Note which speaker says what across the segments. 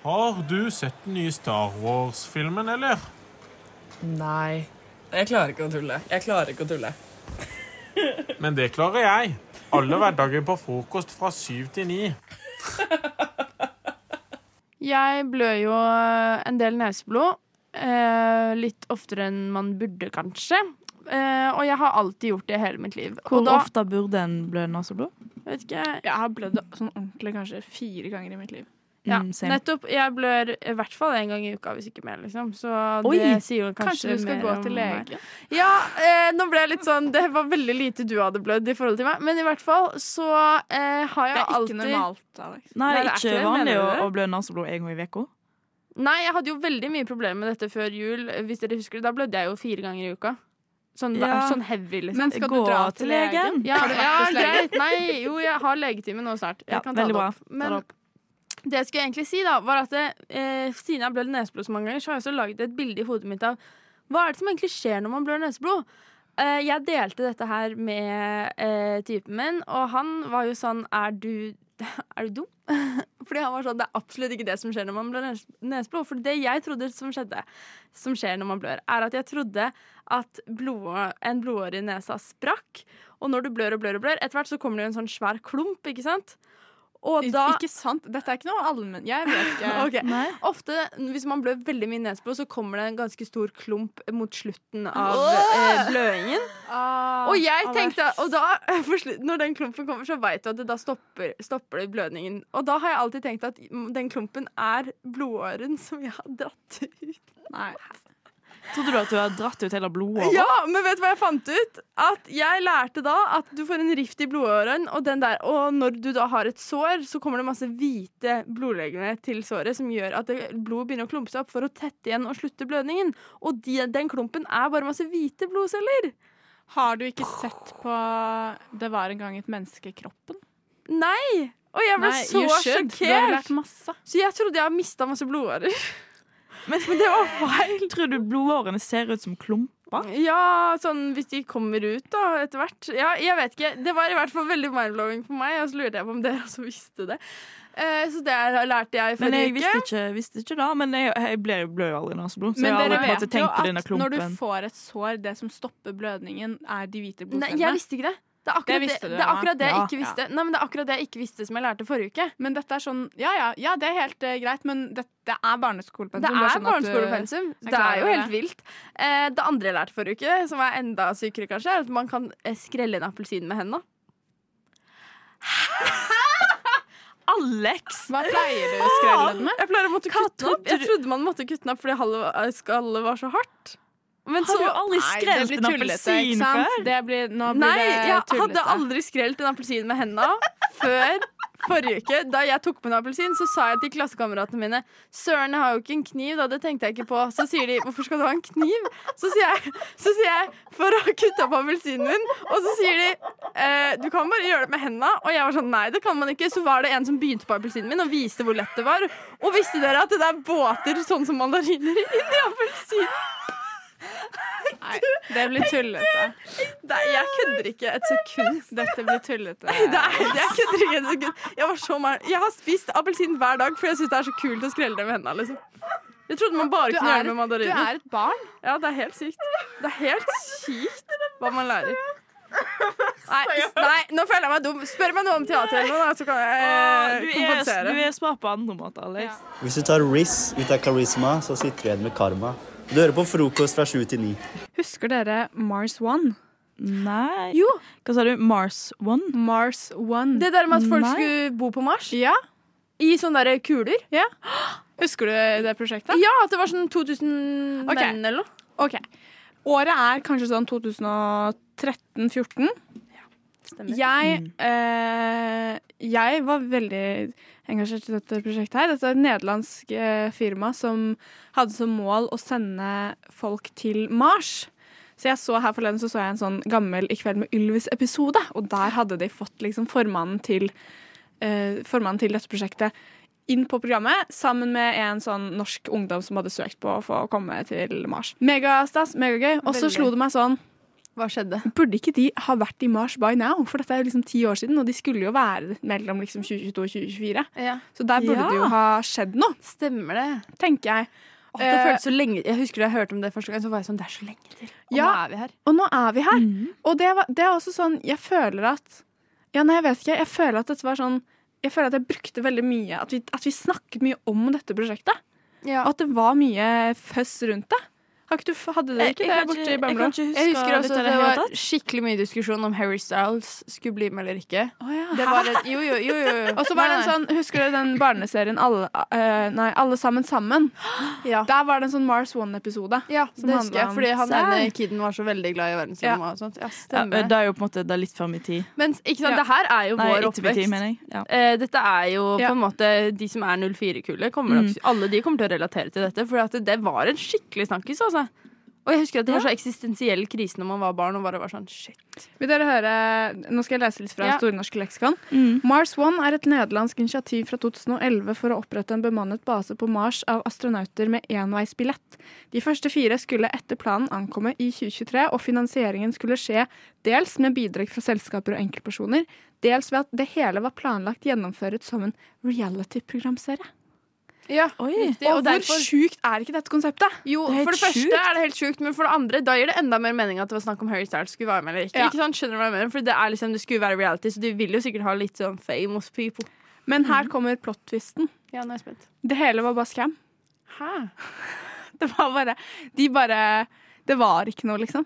Speaker 1: Har du sett den nye Star Wars-filmen, eller?
Speaker 2: Nei. Jeg klarer ikke å tulle. Jeg klarer ikke å tulle.
Speaker 1: Men det klarer jeg. Alle hverdager på frokost fra syv til ni.
Speaker 3: Jeg blør jo eh, en del neseblod. eh, Litt oftere enn man burde, kanskje. Eh, Og jeg har alltid gjort det hele mitt liv.
Speaker 4: Hvor
Speaker 3: og da,
Speaker 4: ofte burde en blø naseblod?
Speaker 3: Vet ikke,
Speaker 5: Jeg har blødd sånn ordentlig kanskje fire ganger i mitt liv.
Speaker 3: ja,
Speaker 4: Mm, same.
Speaker 3: nettopp. Jeg blør i hvert fall én gang i uka, hvis ikke mer. liksom Så
Speaker 4: Oi,
Speaker 3: det sier jo
Speaker 5: Kanskje,
Speaker 3: kanskje,
Speaker 5: du skal
Speaker 3: mer
Speaker 5: gå
Speaker 3: om
Speaker 5: til
Speaker 3: meg.
Speaker 5: legen?
Speaker 3: Ja, eh, nå ble jeg litt sånn Det var veldig lite du hadde blødd i forhold til meg. Men i hvert fall så eh, har jeg
Speaker 5: Det er ikke
Speaker 3: alltid
Speaker 5: normalt, Alex.
Speaker 4: Nei, det
Speaker 3: Nei,
Speaker 4: er
Speaker 3: det er
Speaker 4: ikke
Speaker 3: ikke det,
Speaker 4: vanlig å,
Speaker 3: mener du?
Speaker 4: å blø naseblod en gang i uka.
Speaker 3: Nei, jeg hadde jo veldig mye problemer med dette før jul. Hvis dere husker det, Da blødde jeg jo fire ganger i uka. Sånn, hver-
Speaker 4: Ja.
Speaker 3: sånn heavy, liksom.
Speaker 5: Men skal
Speaker 4: Gå
Speaker 5: du dra
Speaker 4: til
Speaker 5: til
Speaker 4: legen?
Speaker 5: legen?
Speaker 3: Ja,
Speaker 5: Har du vært
Speaker 3: ja
Speaker 5: hos legen?
Speaker 3: greit. Nei, jo, jeg har legetime nå snart. Jeg
Speaker 4: Ja,
Speaker 3: kan ta
Speaker 4: veldig
Speaker 3: det
Speaker 4: bra.
Speaker 3: opp. Men
Speaker 4: det
Speaker 3: det, jeg skulle egentlig si, da, var at det, eh, siden jeg blør neseblod så mange ganger, så har jeg også laget et bilde i hodet mitt av hva er det som egentlig skjer når man blør neseblod. Eh, jeg delte dette her med eh, typen min, og han var jo sånn Er du, er du dum? Fordi han var sånn, Det er absolutt ikke det som skjer når man blør nes- neseblod. For det jeg trodde som skjedde, som skjer når man blør, er at jeg trodde at blod, en blodåre i nesa sprakk. Og når du blør og blør og blør, etter hvert så kommer det jo en sånn svær klump, ikke sant? Og da
Speaker 5: Ikke sant? Dette er ikke noe allmenn... Jeg vet ikke.
Speaker 3: Ok.
Speaker 4: Nei.
Speaker 3: Ofte hvis man blør veldig mye neseblod, så kommer det en ganske stor klump mot slutten av
Speaker 5: Åh!
Speaker 3: eh, blødingen.
Speaker 5: Ah,
Speaker 3: Og jeg
Speaker 5: Alex.
Speaker 3: tenkte, og da, for slu- når den klumpen kommer, så veit du at det, da stopper, stopper det blødningen. Og da har jeg alltid tenkt at den klumpen er blodåren som jeg har dratt ut.
Speaker 5: Nei.
Speaker 4: Trodde du at du hadde dratt ut hele blodåret?
Speaker 3: Ja, men vet du hva jeg fant ut? At jeg lærte da at du får en rift i blodåren, og, den der, og når du da har et sår, så kommer det masse hvite blodlegemer til såret, som gjør at det- blodet begynner å klumpe seg opp for å tette igjen og slutte blødningen. Og de, den klumpen er bare masse hvite blodceller.
Speaker 5: Har du ikke sett på Det var en gang et menneske i kroppen?
Speaker 3: Nei! Og jeg ble
Speaker 5: Nei,
Speaker 3: så
Speaker 5: you should. Du har lært
Speaker 3: sjokkert.
Speaker 5: masse.
Speaker 3: Så jeg trodde jeg hadde mista masse blodårer.
Speaker 4: Men, det var feil! Tror du blodårene ser ut som klumper?
Speaker 3: Ja, sånn hvis de kommer ut da, etter hvert. Ja, jeg vet ikke. Det var i hvert fall veldig mindblowing for meg, og så lurte jeg på om dere også visste det. Eh, så det er- lærte jeg i
Speaker 4: Men jeg
Speaker 3: forrige uke.
Speaker 4: visste ikke, visste ikke da, men jeg, jeg ble jo blø aldri naseblod. Så
Speaker 5: Men
Speaker 4: jeg har
Speaker 5: dere
Speaker 4: aldri på en måte
Speaker 5: vet jo
Speaker 4: tenkt på denne
Speaker 5: at når du
Speaker 4: klumpen.
Speaker 5: får et sår, det som stopper blødningen, er de
Speaker 3: Nei,
Speaker 5: hvite
Speaker 3: jeg
Speaker 5: blodcellene.
Speaker 3: visste ikke det. Det er akkurat
Speaker 5: Det
Speaker 3: det,
Speaker 5: visste du,
Speaker 3: det, er
Speaker 5: ja.
Speaker 3: akkurat det jeg
Speaker 4: Ja.
Speaker 3: ikke visste. Nei, men det er akkurat det jeg ikke visste som jeg lærte forrige uke.
Speaker 5: Men dette er sånn Ja, ja, ja det er helt eh, greit, men det, det er barneskolepensum.
Speaker 3: Det
Speaker 5: bare
Speaker 3: er
Speaker 5: sånn at du-
Speaker 3: barneskolepensum.
Speaker 5: er
Speaker 3: Det
Speaker 5: klar
Speaker 3: er jo
Speaker 5: over
Speaker 3: helt vilt. Eh, det andre jeg lærte forrige uke, som er enda sykere, kanskje, er at man kan eh, skrelle en appelsin med hendene.
Speaker 4: Alex!
Speaker 5: Hva pleier du å skrelle den med?
Speaker 3: Jeg pleier å måtte kutte den opp.
Speaker 4: trodde
Speaker 3: Jeg
Speaker 4: du-
Speaker 3: trodde man måtte kutte den opp fordi halve- eh, skallet var så hardt. Men
Speaker 4: Har du aldri
Speaker 5: Nei, det
Speaker 4: skrelt
Speaker 5: blir
Speaker 4: en
Speaker 5: tullete, ikke
Speaker 4: appelsin
Speaker 5: sant?
Speaker 4: før?
Speaker 5: Det blir, nå blir
Speaker 3: Nei,
Speaker 5: det
Speaker 3: jeg
Speaker 5: tullete.
Speaker 3: hadde aldri skrelt en appelsin med hendene før forrige uke. Da jeg tok med en appelsin, så sa jeg til klassekameratene mine Søren, jeg har jo ikke en kniv, da. Det tenkte jeg ikke på. Så sier de hvorfor skal du ha en kniv? Så sier jeg, så sier jeg for å kutte opp appelsinen min. Og så sier de eh, du kan bare gjøre det med hendene. Og jeg var sånn nei, det kan man ikke. Så var det en som begynte på appelsinen min og viste hvor lett det var. Og visste dere at det er båter sånn som mandariner inni appelsinen?
Speaker 5: Nei, det blir tullete.
Speaker 3: Nei, jeg kødder ikke et sekund.
Speaker 5: Dette blir tullete.
Speaker 3: Det er, jeg kødder ikke et sekund. Jeg, var så mer- jeg har spist appelsin hver dag, for jeg syns det er så kult å skrelle det med hendene. Liksom. Jeg trodde man bare
Speaker 5: Du
Speaker 3: kunne gjøre
Speaker 5: er,
Speaker 3: det med
Speaker 5: du
Speaker 3: mandariner.
Speaker 5: er et barn.
Speaker 3: Ja, det er helt sykt. Det er helt sykt hva man lærer. Nei, s- nei, nå føler jeg meg dum. Spør meg noe om teater, eller noe, da, så kan
Speaker 4: Du
Speaker 3: jeg eh,
Speaker 4: er, du
Speaker 3: kompensere.
Speaker 4: er smart på andre måter, Alex.
Speaker 6: Hvis du tar Riz ut av karisma, så sitter du igjen med karma. Du hører på frokost fra sju til ni.
Speaker 5: Husker dere Mars One?
Speaker 4: Nei
Speaker 3: Jo,
Speaker 4: Hva sa du? Mars One?
Speaker 5: Mars One.
Speaker 3: det der med at folk
Speaker 4: Nei.
Speaker 3: skulle bo på Mars
Speaker 5: ja.
Speaker 3: i sånne der kuler.
Speaker 5: Husker du det prosjektet?
Speaker 3: Ja, at det var sånn 2000
Speaker 5: Ok.
Speaker 3: menn eller noe.
Speaker 5: OK. Året er kanskje sånn 2013-14. Jeg, eh, jeg var veldig engasjert i dette prosjektet her. Dette er et nederlandsk eh, firma som hadde som mål å sende folk til Mars. Så jeg så her forleden så så jeg en sånn gammel I kveld med Ylvis-episode, og der hadde de fått liksom formannen til eh, formannen til dette prosjektet inn på programmet sammen med en sånn norsk ungdom som hadde søkt på å få komme til Mars. Megastas, megagøy. Og så slo det meg sånn Hva skjedde?
Speaker 3: Burde ikke de ha vært i Mars by now? For dette er jo liksom ti år siden, og de skulle jo være mellom liksom 2022 og 2024.
Speaker 5: Ja,
Speaker 3: Så der burde
Speaker 4: Ja.
Speaker 3: det jo ha skjedd noe,
Speaker 5: Stemmer det?
Speaker 3: tenker jeg.
Speaker 5: Åh, det
Speaker 3: Eh,
Speaker 5: føltes så lenge Jeg husker da jeg hørte om det første gang, så var jeg sånn Det er så lenge til. Og nå
Speaker 3: Ja.
Speaker 5: er vi her.
Speaker 3: Og nå er vi her. Og det, var, det er også sånn Jeg føler at Ja, nei, jeg vet ikke. Jeg føler at dette var sånn Jeg føler at jeg brukte veldig mye At vi, at vi snakket mye om dette prosjektet.
Speaker 5: Ja.
Speaker 3: Og at det var mye føss rundt det. Har ikke du, f- hadde dere
Speaker 4: Jeg,
Speaker 3: ikke
Speaker 4: jeg,
Speaker 3: det
Speaker 4: kan
Speaker 3: borti
Speaker 4: ikke, jeg
Speaker 3: Bamble?
Speaker 4: kan ikke huske
Speaker 5: Jeg husker
Speaker 4: litt
Speaker 5: også
Speaker 4: av
Speaker 5: det
Speaker 4: hele
Speaker 5: var
Speaker 4: tatt.
Speaker 5: skikkelig mye diskusjon om Harry Styles skulle bli med eller ikke.
Speaker 3: Å ja.
Speaker 5: Det var et, jo, jo, jo, jo. jo.
Speaker 3: Og så var det en
Speaker 5: Nei,
Speaker 3: sånn, Husker dere den barneserien alle, eh, nei, alle sammen sammen?
Speaker 5: nei. ja.
Speaker 3: Der var det en sånn Mars One-episode.
Speaker 5: ja,
Speaker 3: som
Speaker 5: det husker
Speaker 3: handlet
Speaker 5: jeg,
Speaker 3: om
Speaker 5: fordi han
Speaker 3: sel.
Speaker 5: ene kiden var så veldig glad i verdensrommet og sånt. Ja,
Speaker 4: Ja,
Speaker 5: stemmer.
Speaker 4: det er jo på en måte det er litt før min tid.
Speaker 5: Men ikke
Speaker 3: Ja.
Speaker 5: sant, det her er jo
Speaker 4: Nei,
Speaker 5: vår
Speaker 4: ikke min tid,
Speaker 5: oppvekst.
Speaker 4: mener jeg. Ja.
Speaker 5: Eh, dette er jo
Speaker 3: Ja.
Speaker 5: på en måte de som er 04-kullet. kommer nok- Alle de kommer til å relatere til dette, for at det var en skikkelig snakkis. Altså. Og jeg husker at det var så eksistensiell krise når man var barn. og bare var sånn, shit.
Speaker 3: Vil dere høre, Nå skal jeg lese litt fra
Speaker 5: Ja.
Speaker 3: Store norske leksikon.
Speaker 4: Mm.
Speaker 3: Mars One er et nederlandsk initiativ fra 2011 for å opprette en bemannet base på Mars av astronauter med enveisbillett. De første fire skulle etter planen ankomme i 2023, og finansieringen skulle skje dels med bidrag fra selskaper og enkeltpersoner, dels ved at det hele var planlagt gjennomført som en reality-programserie.
Speaker 4: Oi.
Speaker 5: Det,
Speaker 3: Og hvor sjukt er ikke dette konseptet?
Speaker 5: jo,
Speaker 4: Det er helt
Speaker 5: for det første
Speaker 4: sjukt.
Speaker 5: er det helt sjukt, men for det andre da gir det enda mer mening at det var snakk om Harry Styles skulle være med eller ikke.
Speaker 3: Ja.
Speaker 5: ikke sant? Skjønner du hva jeg mener? For det, er liksom, det skulle være reality, så de vil jo sikkert ha litt sånn famous people.
Speaker 3: Men her kommer plot-twisten.
Speaker 5: Ja, nå er jeg spent.
Speaker 3: Det hele var bare scam.
Speaker 5: Hæ?
Speaker 3: Det var bare De bare Det var ikke noe, liksom.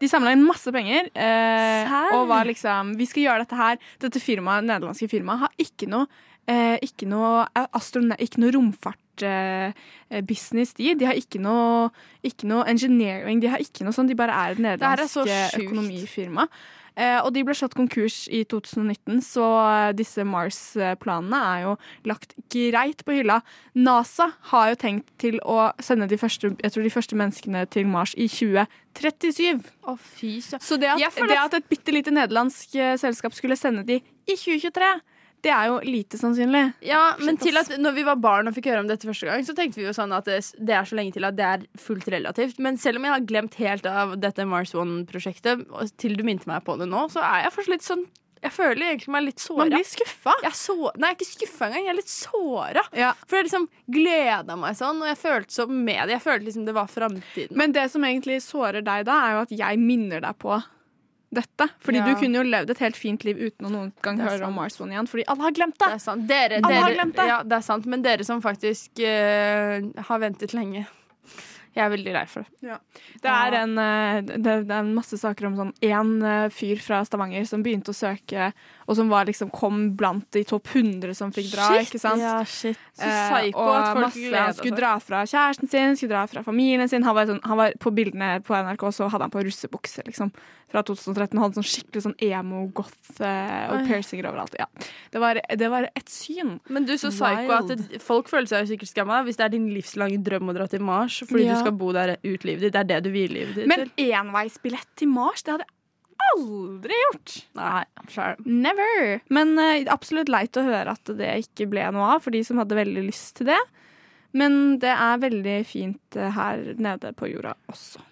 Speaker 3: De samla inn masse penger eh,
Speaker 4: Serr?
Speaker 3: og var liksom Vi skal gjøre dette her. Dette firmaet, nederlandske firmaet har ikke noe eh, ikke noe, eh, astrone- ikke noe romfart eh, eh, business de. De har ikke noe, ikke noe engineering. De har ikke noe sånn, de bare er et
Speaker 5: her er så
Speaker 3: nederlandsk eh,
Speaker 5: sjukt.
Speaker 3: økonomifirma. Eh, og de ble slått konkurs i 2019, så eh, disse Mars-planene er jo lagt greit på hylla. NASA har jo tenkt til å sende de første, jeg tror de første menneskene til Mars i 2037.
Speaker 5: Å, fy søren.
Speaker 3: Så det at,
Speaker 5: Jeg føler
Speaker 3: det at et bitte lite nederlandsk eh, selskap skulle sende de i 2023, det er jo lite sannsynlig.
Speaker 5: Ja, men til at når vi var barn og fikk høre om dette første gang, så tenkte vi jo sånn at det, det er så lenge til at det er fullt relativt. Men selv om jeg har glemt helt av dette Mars One-prosjektet, og til du minte meg på det nå, så er jeg fortsatt litt sånn Jeg føler egentlig meg litt såra.
Speaker 3: Man blir skuffa.
Speaker 5: Jeg er så, nei, jeg er ikke skuffa engang. Jeg er litt såra.
Speaker 3: Ja.
Speaker 5: For jeg liksom gleda meg sånn, og jeg følte så med det. Jeg følte liksom det var framtiden.
Speaker 3: Men det som egentlig sårer deg da, er jo at jeg minner deg på dette. Fordi
Speaker 5: Ja.
Speaker 3: du kunne jo levd et helt fint liv uten å noen gang
Speaker 5: Det er
Speaker 3: høre om
Speaker 5: sant.
Speaker 3: Mars One igjen, fordi alle har glemt
Speaker 5: Det
Speaker 3: det.
Speaker 5: er sant. Dere,
Speaker 3: Alle
Speaker 5: dere,
Speaker 3: har glemt det.
Speaker 5: Ja, det er sant. Men dere som faktisk eh, har ventet lenge. Jeg er veldig lei for det.
Speaker 3: Det er en, eh, det, det er en masse saker om sånn én eh, fyr fra Stavanger som begynte å søke, og som var liksom kom blant de topp 100 som fikk dra,
Speaker 5: Shit!
Speaker 3: ikke sant?
Speaker 4: Ja, shit.
Speaker 5: Så psyko
Speaker 3: Eh, og
Speaker 5: at folk
Speaker 3: masse,
Speaker 5: gleder
Speaker 3: Han skulle
Speaker 5: seg.
Speaker 3: dra fra kjæresten sin, skulle dra fra familien sin. Han var, sånn, han var på bildene på NRK, så hadde han på russebukse liksom, fra 2013. Han hadde sånn skikkelig sånn emo-goth eh,
Speaker 5: Oi.
Speaker 3: og piercinger overalt. Ja. Det, var, det var et syn.
Speaker 5: Men du, så psyko at
Speaker 4: Wild.
Speaker 5: det- folk føler seg jo sikkert skamma hvis det er din livslange drøm å dra til Mars fordi
Speaker 3: Ja.
Speaker 5: du skal bo der ut livet ditt. Det er det du vil livet ditt
Speaker 3: Men
Speaker 5: til.
Speaker 3: enveisbillett til Mars, det hadde jeg aldri gjort.
Speaker 5: Nei, skjær.
Speaker 3: Never! Men eh, absolutt leit å høre at det ikke ble noe av for de som hadde veldig lyst til det. Men det er veldig fint eh, her nede på jorda også.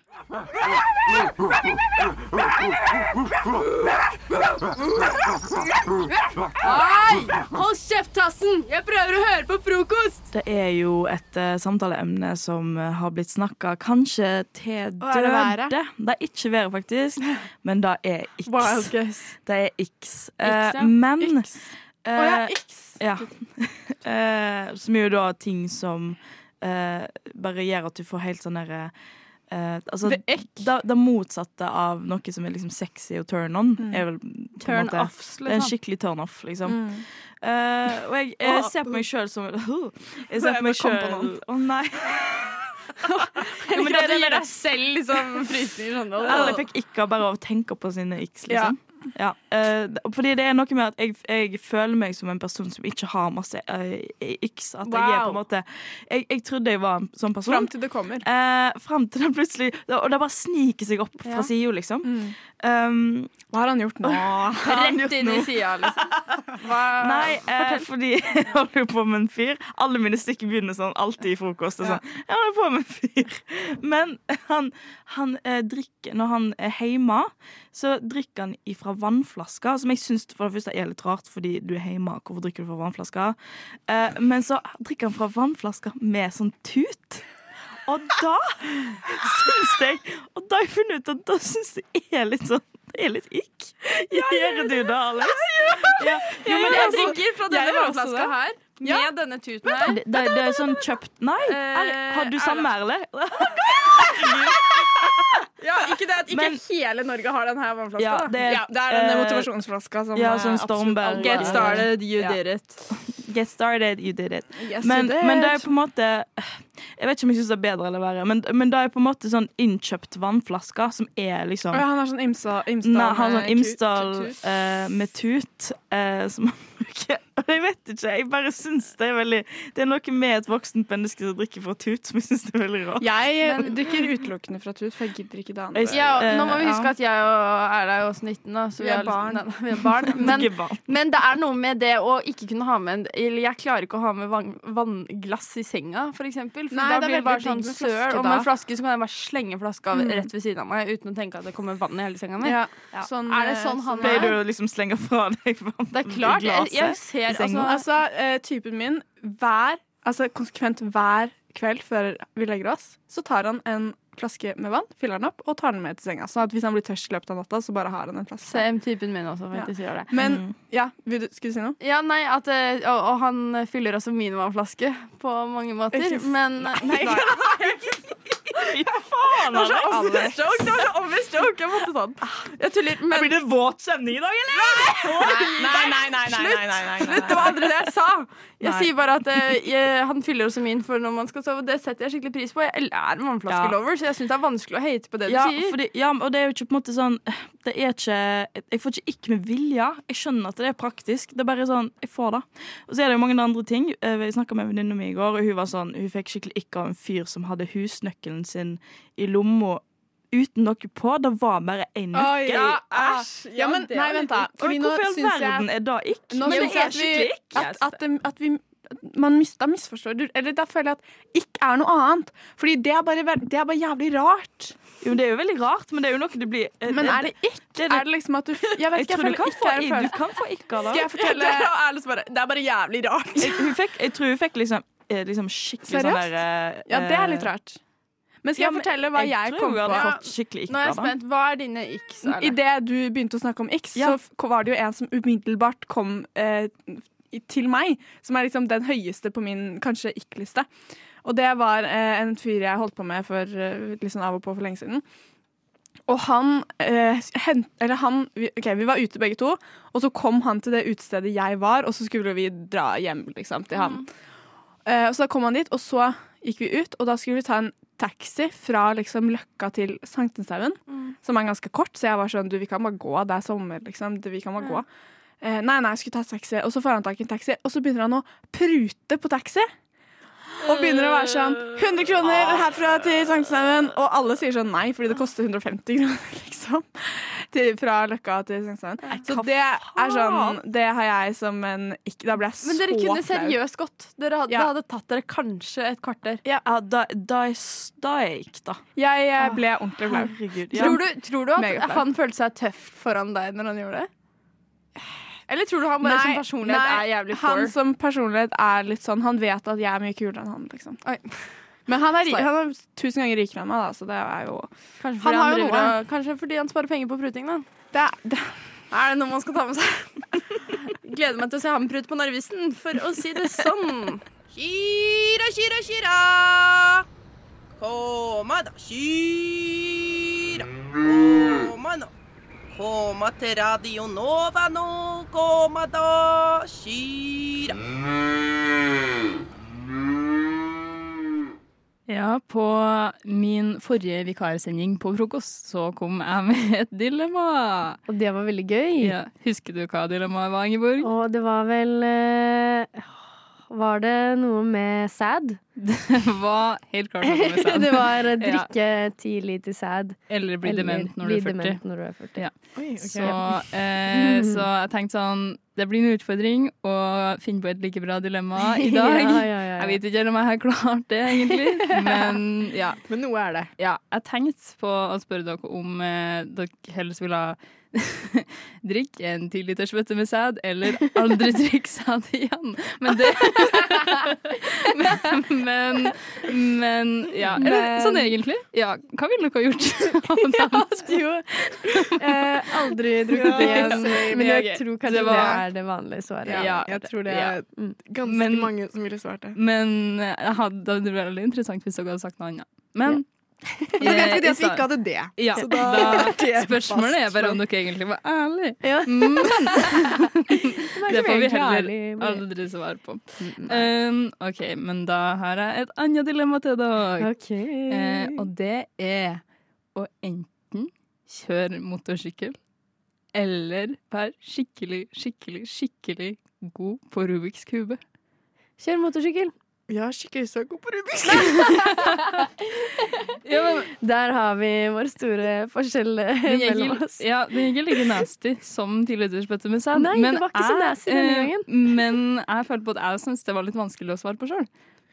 Speaker 7: Hold kjeft, Tassen! Jeg prøver å høre på frokost!
Speaker 4: Det er jo et eh, samtaleemne som eh, har blitt snakka kanskje til
Speaker 3: Og er det været?
Speaker 4: døde. Det er ikke været, faktisk, men det er X.
Speaker 5: Wild guess.
Speaker 4: Det er X. Eh,
Speaker 5: X, ja.
Speaker 4: Men eh,
Speaker 3: Å ja, X.
Speaker 4: ja. Eh, som er jo da ting som eh, bare gjør at du får helt sånn derre eh, altså,
Speaker 3: Det
Speaker 4: det, det motsatte av noe som er liksom sexy og turn on. Er vel, på en
Speaker 5: Turn
Speaker 4: måte-
Speaker 5: offs,
Speaker 4: Det er en
Speaker 5: liksom.
Speaker 4: skikkelig turn off, liksom. Eh, og jeg, jeg ser på meg sjøl som Jeg ser på meg
Speaker 3: kom på
Speaker 4: sjøl Å, nei. jo, men det,
Speaker 5: At
Speaker 4: det,
Speaker 5: du gir
Speaker 4: det,
Speaker 5: deg selv liksom frysninger sånn.
Speaker 4: Alle fikk ikke bare av å tenke på sine x,
Speaker 3: Ja.
Speaker 4: liksom. Ja. eh, det- fordi det er noe med at jeg, jeg føler meg som en person som ikke har masse eh, x. At jeg er på en
Speaker 5: Wow.
Speaker 4: måte Jeg, jeg trodde jeg var en sånn person.
Speaker 3: Fram til det kommer.
Speaker 4: Eh, fram til det plutselig Og det bare sniker seg opp fra
Speaker 3: Mm.
Speaker 4: sida, liksom. Um,
Speaker 3: Hva har han gjort nå?
Speaker 4: har han gjort
Speaker 5: Rett inn i
Speaker 4: noe?
Speaker 5: sida, liksom.
Speaker 8: Hva,
Speaker 4: Nei, eh, fordi jeg holder jo på med en fyr. Alle mine stikk begynner sånn alltid i frokost. Og sånn. Jeg holder på med en fyr. Men han, han eh, drikker Når han er hjemme, så drikker han ifra vannflasker, som jeg syns for det første er litt rart, fordi du er hjemme, hvorfor drikker du fra vannflasker? Eh, men så drikker han fra vannflasker med sånn tut. Og da syns jeg Og da har jeg funnet ut at da syns jeg er litt sånn det er litt ikk. Gjør du det, Alex? Ja. Jo, men
Speaker 8: jeg
Speaker 4: altså-
Speaker 8: drikker fra denne
Speaker 4: jeg gjør også
Speaker 8: vannflaska her, med denne tuten her.
Speaker 4: det, det, det er sånn kjøpt Nei, er, har du
Speaker 8: Eh,
Speaker 4: samme, eller?
Speaker 7: Ja, ikke det at ikke
Speaker 4: Men-
Speaker 7: hele Norge har den her vannflaska.
Speaker 4: Ja,
Speaker 7: da.
Speaker 4: det er-
Speaker 7: ja, det er den
Speaker 4: eh,
Speaker 7: motivasjonsflaska som
Speaker 4: Ja,
Speaker 7: eh,
Speaker 4: sånn
Speaker 7: absolutt-
Speaker 4: Stormberg.
Speaker 7: Get started, you
Speaker 4: Ja.
Speaker 7: did it.
Speaker 4: Get started, you did it.
Speaker 7: Yes,
Speaker 4: Men,
Speaker 7: you did.
Speaker 4: men det er på en måte Jeg vet ikke om jeg syns det er bedre eller verre, men, men det er på en måte sånn innkjøpt vannflasker som er
Speaker 3: Å
Speaker 4: liksom
Speaker 3: ja, han er sånn Imsa, Imsdal
Speaker 4: Nei, han har
Speaker 3: med
Speaker 4: sånn
Speaker 3: tut-
Speaker 4: Imsdal
Speaker 3: tut- tut.
Speaker 4: eh, med tut eh, som han bruker. Og jeg vet ikke, jeg bare syns det er veldig Det er noe med et voksent menneske som drikker fra tut, som jeg syns er veldig rart.
Speaker 3: Jeg drikker utelukkende fra tut, for jeg gidder ikke det andre.
Speaker 4: Jeg-
Speaker 8: Ja,
Speaker 4: Eh,
Speaker 8: nå må vi
Speaker 4: ja.
Speaker 8: huske at jeg og Erla er jo også 19, da, så vi,
Speaker 3: Vi er
Speaker 8: har liksom-
Speaker 3: barn.
Speaker 8: Nei, nei, vi er barn. Men,
Speaker 4: Ikke barn.
Speaker 8: men det er noe med det å ikke kunne ha med en Eller jeg klarer ikke å ha med vann, vannglass i senga, for eksempel. For
Speaker 3: Nei,
Speaker 8: da
Speaker 3: det er
Speaker 8: blir det bare
Speaker 3: veldig digg
Speaker 8: sånn
Speaker 3: med flaske,
Speaker 8: søl. Og
Speaker 3: da.
Speaker 8: med en flaske så kan jeg bare slenge flaska rett ved siden av meg uten å tenke at det kommer vann i hele senga mi.
Speaker 3: Ja,
Speaker 4: Ja.
Speaker 3: sånn,
Speaker 8: Er det sånn han
Speaker 4: Pleier du
Speaker 8: er?
Speaker 4: å liksom slenge fra deg vann
Speaker 8: Det er klart.
Speaker 4: i
Speaker 8: Jeg,
Speaker 4: glasset?
Speaker 8: jeg ser
Speaker 4: senga.
Speaker 8: altså,
Speaker 3: Altså, eh, typen min, hver Altså konsekvent hver kveld før vi legger oss, så tar han en flaske med vann, fyller den opp og tar den med til senga. Sånn at hvis han blir tørst i løpet av natta, så bare har han en flaske.
Speaker 8: Same typen min også, faktisk. gjør det
Speaker 3: Men
Speaker 4: Mm.
Speaker 3: ja, vil du, skulle du si noe?
Speaker 8: Ja, nei, at, eh, og, og han fyller også min vannflaske på mange måter,
Speaker 3: Ikke s-
Speaker 8: men Nei,
Speaker 4: Fy
Speaker 8: Det
Speaker 4: faen,
Speaker 8: var så obvious
Speaker 4: Alex.
Speaker 8: joke! Det var så obvious joke. Jeg måtte sånn. Jeg tuller. Men
Speaker 4: Blir det våt stemning i dag, eller?
Speaker 7: Nei, nei, nei, nei, nei, nei, nei, nei.
Speaker 8: det var aldri det jeg sa. Jeg
Speaker 4: Nei.
Speaker 8: sier bare at eh, jeg, han fyller også min for når man skal sove. Det setter jeg skikkelig pris på. Jeg er vannflaskelover, så jeg syns det er vanskelig å hate på det
Speaker 4: Ja,
Speaker 8: du sier.
Speaker 4: fordi, ja, og det er jo ikke på en måte sånn Det er ikke Jeg får ikke ikke med vilje. Jeg skjønner at det er praktisk. Det er bare sånn Jeg får det. Og så er det jo mange andre ting. Eh, Jeg snakka med en venninne mi i går, og hun var sånn Hun fikk skikkelig ikk av en fyr som hadde husnøkkelen sin i lomma uten noe på. Det var bare én nøkkel.
Speaker 3: ja, æsj. Ja, men nei, vent, da.
Speaker 4: Og
Speaker 3: Fordi nå
Speaker 4: Hvorfor i all
Speaker 3: syns jeg-
Speaker 4: verden er det ikk?
Speaker 3: Nå
Speaker 4: Men det
Speaker 3: syns jeg
Speaker 4: er
Speaker 3: at vi,
Speaker 4: skikkelig ikk.
Speaker 3: at, at, dem- at vi at man mis, da misforstår du Eller da føler jeg at ikke er noe annet. Fordi det er bare, vel- det er bare jævlig rart.
Speaker 4: Jo, det er jo veldig rart, men det er jo noe du blir eh,
Speaker 3: Men er det ikke?
Speaker 4: det-
Speaker 3: Er det liksom at du Jeg vet
Speaker 4: Jeg
Speaker 3: ikke, jeg
Speaker 4: tror du
Speaker 3: føler
Speaker 4: kan
Speaker 3: ikke
Speaker 4: få
Speaker 3: er en
Speaker 4: ikk. Du
Speaker 3: følelse.
Speaker 4: kan få ikk av det.
Speaker 3: Skal jeg fortelle
Speaker 7: det er bare jævlig rart.
Speaker 4: Jeg- hun fikk, jeg tror hun fikk liksom, eh, liksom skikkelig sånn
Speaker 8: eh,
Speaker 3: Seriøst?
Speaker 4: der
Speaker 3: Ja, det er litt rart. Eh, Men skal
Speaker 4: ja,
Speaker 3: jeg
Speaker 4: men
Speaker 3: fortelle hva jeg, kom
Speaker 4: tror hun hadde
Speaker 3: på?
Speaker 4: fått skikkelig
Speaker 8: Nå er
Speaker 4: ikke
Speaker 8: jeg spent. Hva er dine x?
Speaker 3: Idet du begynte å snakke om X, så
Speaker 4: Ja.
Speaker 3: f- var det jo en som umiddelbart kom eh, i- til meg, som er liksom den høyeste på min kanskje ikke-liste. Og det var eh, en fyr jeg holdt på med for, eh, litt sånn av og på for lenge siden. Og han, eh, hen, eller han vi, Ok, vi var ute begge to, og så kom han til det utestedet jeg var, og så skulle vi dra hjem liksom, til han. Eh, og så da kom han dit, og så gikk vi ut, og da skulle vi ta en taxi fra liksom, Løkka til Sankthanshaugen,
Speaker 8: Mm.
Speaker 3: som er ganske kort, så jeg var sånn Du, vi kan bare gå, det er sommer, liksom. Du, vi kan bare gå. Eh, nei, nei, jeg skulle ta taxi, og så får han tak i en taxi, og så begynner han å prute på taxi. Og begynner å være sånn 100 kroner herfra til Sankthanshaugen. Og alle sier sånn nei, fordi det koster 150 kroner, liksom. Til, fra Løkka til Sankthanshaugen. Så det er sånn Det har jeg som en ikke Da ble jeg så
Speaker 8: Men dere kunne
Speaker 3: flau.
Speaker 8: seriøst gått. Dere hadde,
Speaker 3: Ja.
Speaker 8: Det hadde tatt dere kanskje et kvarter.
Speaker 4: Ja, da, da, er s- da er jeg ikke, da.
Speaker 3: Jeg eh, ble ordentlig flau.
Speaker 4: Herregud. Ja.
Speaker 8: Tror, du, tror du at
Speaker 3: Megaflau.
Speaker 8: han følte seg tøff foran deg når han gjorde det? Eller tror du han bare
Speaker 3: Nei,
Speaker 8: som personlighet
Speaker 3: nei,
Speaker 8: er jævlig poor?
Speaker 3: Han som personlighet er litt sånn Han vet at jeg er mye kulere enn han, liksom.
Speaker 8: Oi.
Speaker 3: Men han er, ri-
Speaker 8: Sorry.
Speaker 3: han er tusen ganger rikere enn meg, da, så det er jo
Speaker 8: Kanskje
Speaker 3: Han
Speaker 8: fordi
Speaker 3: har
Speaker 8: han,
Speaker 3: jo
Speaker 8: driver
Speaker 3: noe.
Speaker 8: og- kanskje fordi han sparer penger på pruting, da.
Speaker 3: det er, det,
Speaker 8: Er det noe man skal ta med seg? Gleder meg til å se ham prute på Narvesen, for å si det sånn.
Speaker 7: Kira, kira, kira. Koma da, kira. Koma nå. Koma til Radio Nova nå. Koma da, kira.
Speaker 9: Ja, på min forrige vikarsending på frokost, så kom jeg med et dilemma.
Speaker 5: Og det var veldig gøy.
Speaker 9: Ja, husker du hva dilemmaet var, Ingeborg?
Speaker 5: Og det var vel eh, var det noe med sæd?
Speaker 9: Det var helt klart noe med
Speaker 5: Det
Speaker 9: sæd.
Speaker 5: var eh, drikke ti liter sæd.
Speaker 9: Eller bli
Speaker 5: eller
Speaker 9: dement når du
Speaker 5: bli
Speaker 9: er 40.
Speaker 5: dement når du er 40.
Speaker 9: Ja. Så, eh, så jeg tenkte sånn Det blir en utfordring å finne på et like bra dilemma i dag.
Speaker 5: Ja, ja, ja, ja.
Speaker 9: Jeg vet ikke helt om jeg har klart det, egentlig. Men ja.
Speaker 8: Men noe er det.
Speaker 9: ja jeg tenkte på å spørre dere om eh, dere helst ville ha drikke en ti liters bøtte med sæd, eller aldri drikke sæd igjen. Men det men, men, men ja. Eller sånn egentlig. Ja, hva ville dere ha gjort? ja,
Speaker 5: Jo. Eh, aldri drukket igjen. Men jeg tror kanskje
Speaker 9: Det
Speaker 5: det,
Speaker 9: var-
Speaker 5: er det vanlige svaret.
Speaker 9: Ja.
Speaker 8: jeg tror det er ganske
Speaker 9: Men-
Speaker 8: mange som ville svart det.
Speaker 9: Men eh, jeg hadde, det hadde vært veldig interessant hvis dere hadde sagt noe annet. Men
Speaker 8: Men så vet vi det
Speaker 9: i
Speaker 8: at vi
Speaker 9: stedet-
Speaker 8: ikke hadde det.
Speaker 9: ja,
Speaker 8: Så
Speaker 9: da,
Speaker 8: da-
Speaker 9: Spørsmålet er bare om dere egentlig var ærlige.
Speaker 5: Ja.
Speaker 9: Men det får vi
Speaker 5: egentlig
Speaker 9: heller
Speaker 5: ærlige på det.
Speaker 9: aldri svar på. Um, OK, men da har jeg et annet dilemma til dere.
Speaker 5: Ok.
Speaker 9: Eh, og det er å enten kjøre motorsykkel eller være skikkelig, skikkelig, skikkelig god på Rubiks kube.
Speaker 5: Kjør motorsykkel.
Speaker 8: Jeg er skikkelig så god på Rubiks.
Speaker 9: Ja, men
Speaker 5: Der har vi vår store forskjell eh,
Speaker 9: Den gikk,
Speaker 5: mellom
Speaker 9: ikke-
Speaker 5: oss.
Speaker 9: ja, den gikk like nasty som tidligere bøtte med sand.
Speaker 5: Nei, det var ikke så nasty denne gangen.
Speaker 9: eh, Men jeg følte på at jeg syntes det var litt vanskelig å svare på sjøl.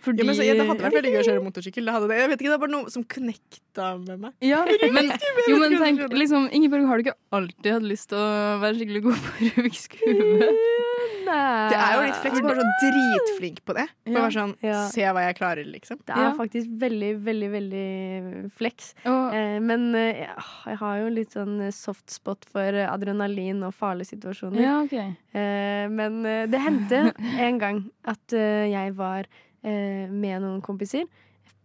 Speaker 9: Fordi
Speaker 8: Ja, men så, ja, det hadde vært veldig gøy å kjøre motorsykkel. Det hadde det. Jeg vet ikke, det er bare noe som connecta med meg.
Speaker 9: Ja, men, jo, men tenk, liksom, Ingeborg, har du ikke alltid hatt lyst til å være skikkelig god på Rubiks kube?
Speaker 5: Nei.
Speaker 8: Det er jo litt fleks, bare sånn dritflink på det. Bare være sånn,
Speaker 5: Ja.
Speaker 8: se hva jeg klarer, liksom.
Speaker 5: Det er
Speaker 9: Ja.
Speaker 5: faktisk veldig, veldig, veldig flex.
Speaker 9: Og,
Speaker 5: Eh, men eh, jeg- åh, jeg har jo litt sånn eh, soft spot for eh, adrenalin og farlige situasjoner.
Speaker 9: ja, ok.
Speaker 5: Eh, men eh, det hendte en gang at eh, jeg var eh, med noen kompiser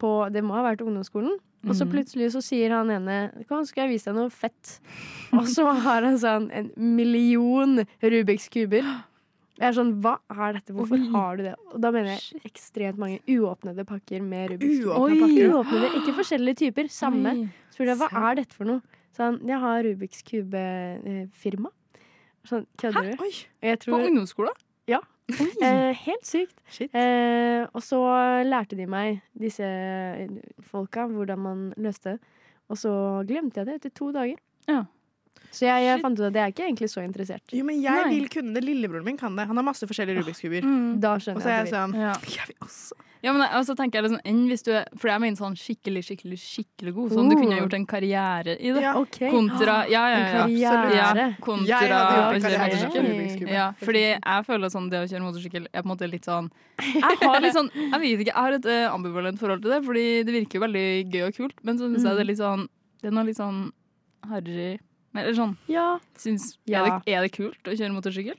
Speaker 5: på Det må ha vært ungdomsskolen. Og så
Speaker 9: Mhm.
Speaker 5: plutselig så sier han ene Kom, skal jeg vise deg noe fett. Og så har han sånn en million Rubiks kuber. Jeg er sånn, Hva er dette? Hvorfor
Speaker 9: Oi.
Speaker 5: har du det? Og da mener jeg ekstremt mange uåpnede pakker med Rubiks kuber.
Speaker 8: Uåpna
Speaker 9: Oi.
Speaker 8: pakker.
Speaker 5: Uåpnede, ikke forskjellige typer. Samme.
Speaker 9: Oi.
Speaker 5: Spurte jeg hva
Speaker 8: Ah. Sant.
Speaker 5: er dette for noe. Så han, jeg har Rubiks kube-firma. Sånn, kødder du?
Speaker 8: Oi,
Speaker 5: Og Jeg
Speaker 9: På
Speaker 5: tror,
Speaker 9: ungdomsskolen?
Speaker 5: eh, helt sykt.
Speaker 8: shit.
Speaker 5: Eh, og så lærte de meg, disse eh, folka, hvordan man løste det. Og så glemte jeg det etter to dager.
Speaker 9: Ja.
Speaker 5: Så jeg, jeg fant ut at jeg er ikke egentlig så interessert.
Speaker 8: Jo, men jeg
Speaker 9: Nei.
Speaker 8: vil kunne det. Lillebroren min kan det. Han har masse forskjellige Rubiks kuber.
Speaker 9: Mm.
Speaker 5: Da
Speaker 8: Og
Speaker 5: skjønner
Speaker 8: så er
Speaker 5: jeg
Speaker 8: jeg
Speaker 5: at
Speaker 8: sånn
Speaker 5: du vil.
Speaker 9: Ja.
Speaker 8: Jeg vil også.
Speaker 9: Ja, men jeg- altså, tenker jeg liksom, enn hvis du er, For jeg mener sånn skikkelig, skikkelig, skikkelig god. Sånn du kunne ha gjort en karriere i det.
Speaker 8: Oh. Ja.
Speaker 5: Ok,
Speaker 9: Kontra Ja,
Speaker 5: en
Speaker 9: ja, ja.
Speaker 5: karriere.
Speaker 9: Ja, kontra
Speaker 8: Jeg hadde
Speaker 5: Ja,
Speaker 8: gjort en
Speaker 9: å kjøre
Speaker 8: karriere
Speaker 5: kanskje.
Speaker 9: motorsykkel.
Speaker 8: på Rubiks kube.
Speaker 9: Ja, fordi jeg føler sånn det å kjøre motorsykkel er på en måte litt sånn Jeg har litt sånn, jeg vet ikke, jeg har et eh, ambivalent forhold til det, fordi det virker jo veldig gøy og kult, men så syns jeg det er litt sånn Det er noe litt sånn harry men- Eller sånn
Speaker 5: Ja.
Speaker 9: syns,
Speaker 5: Ja.
Speaker 9: er, det, er det kult å kjøre motorsykkel?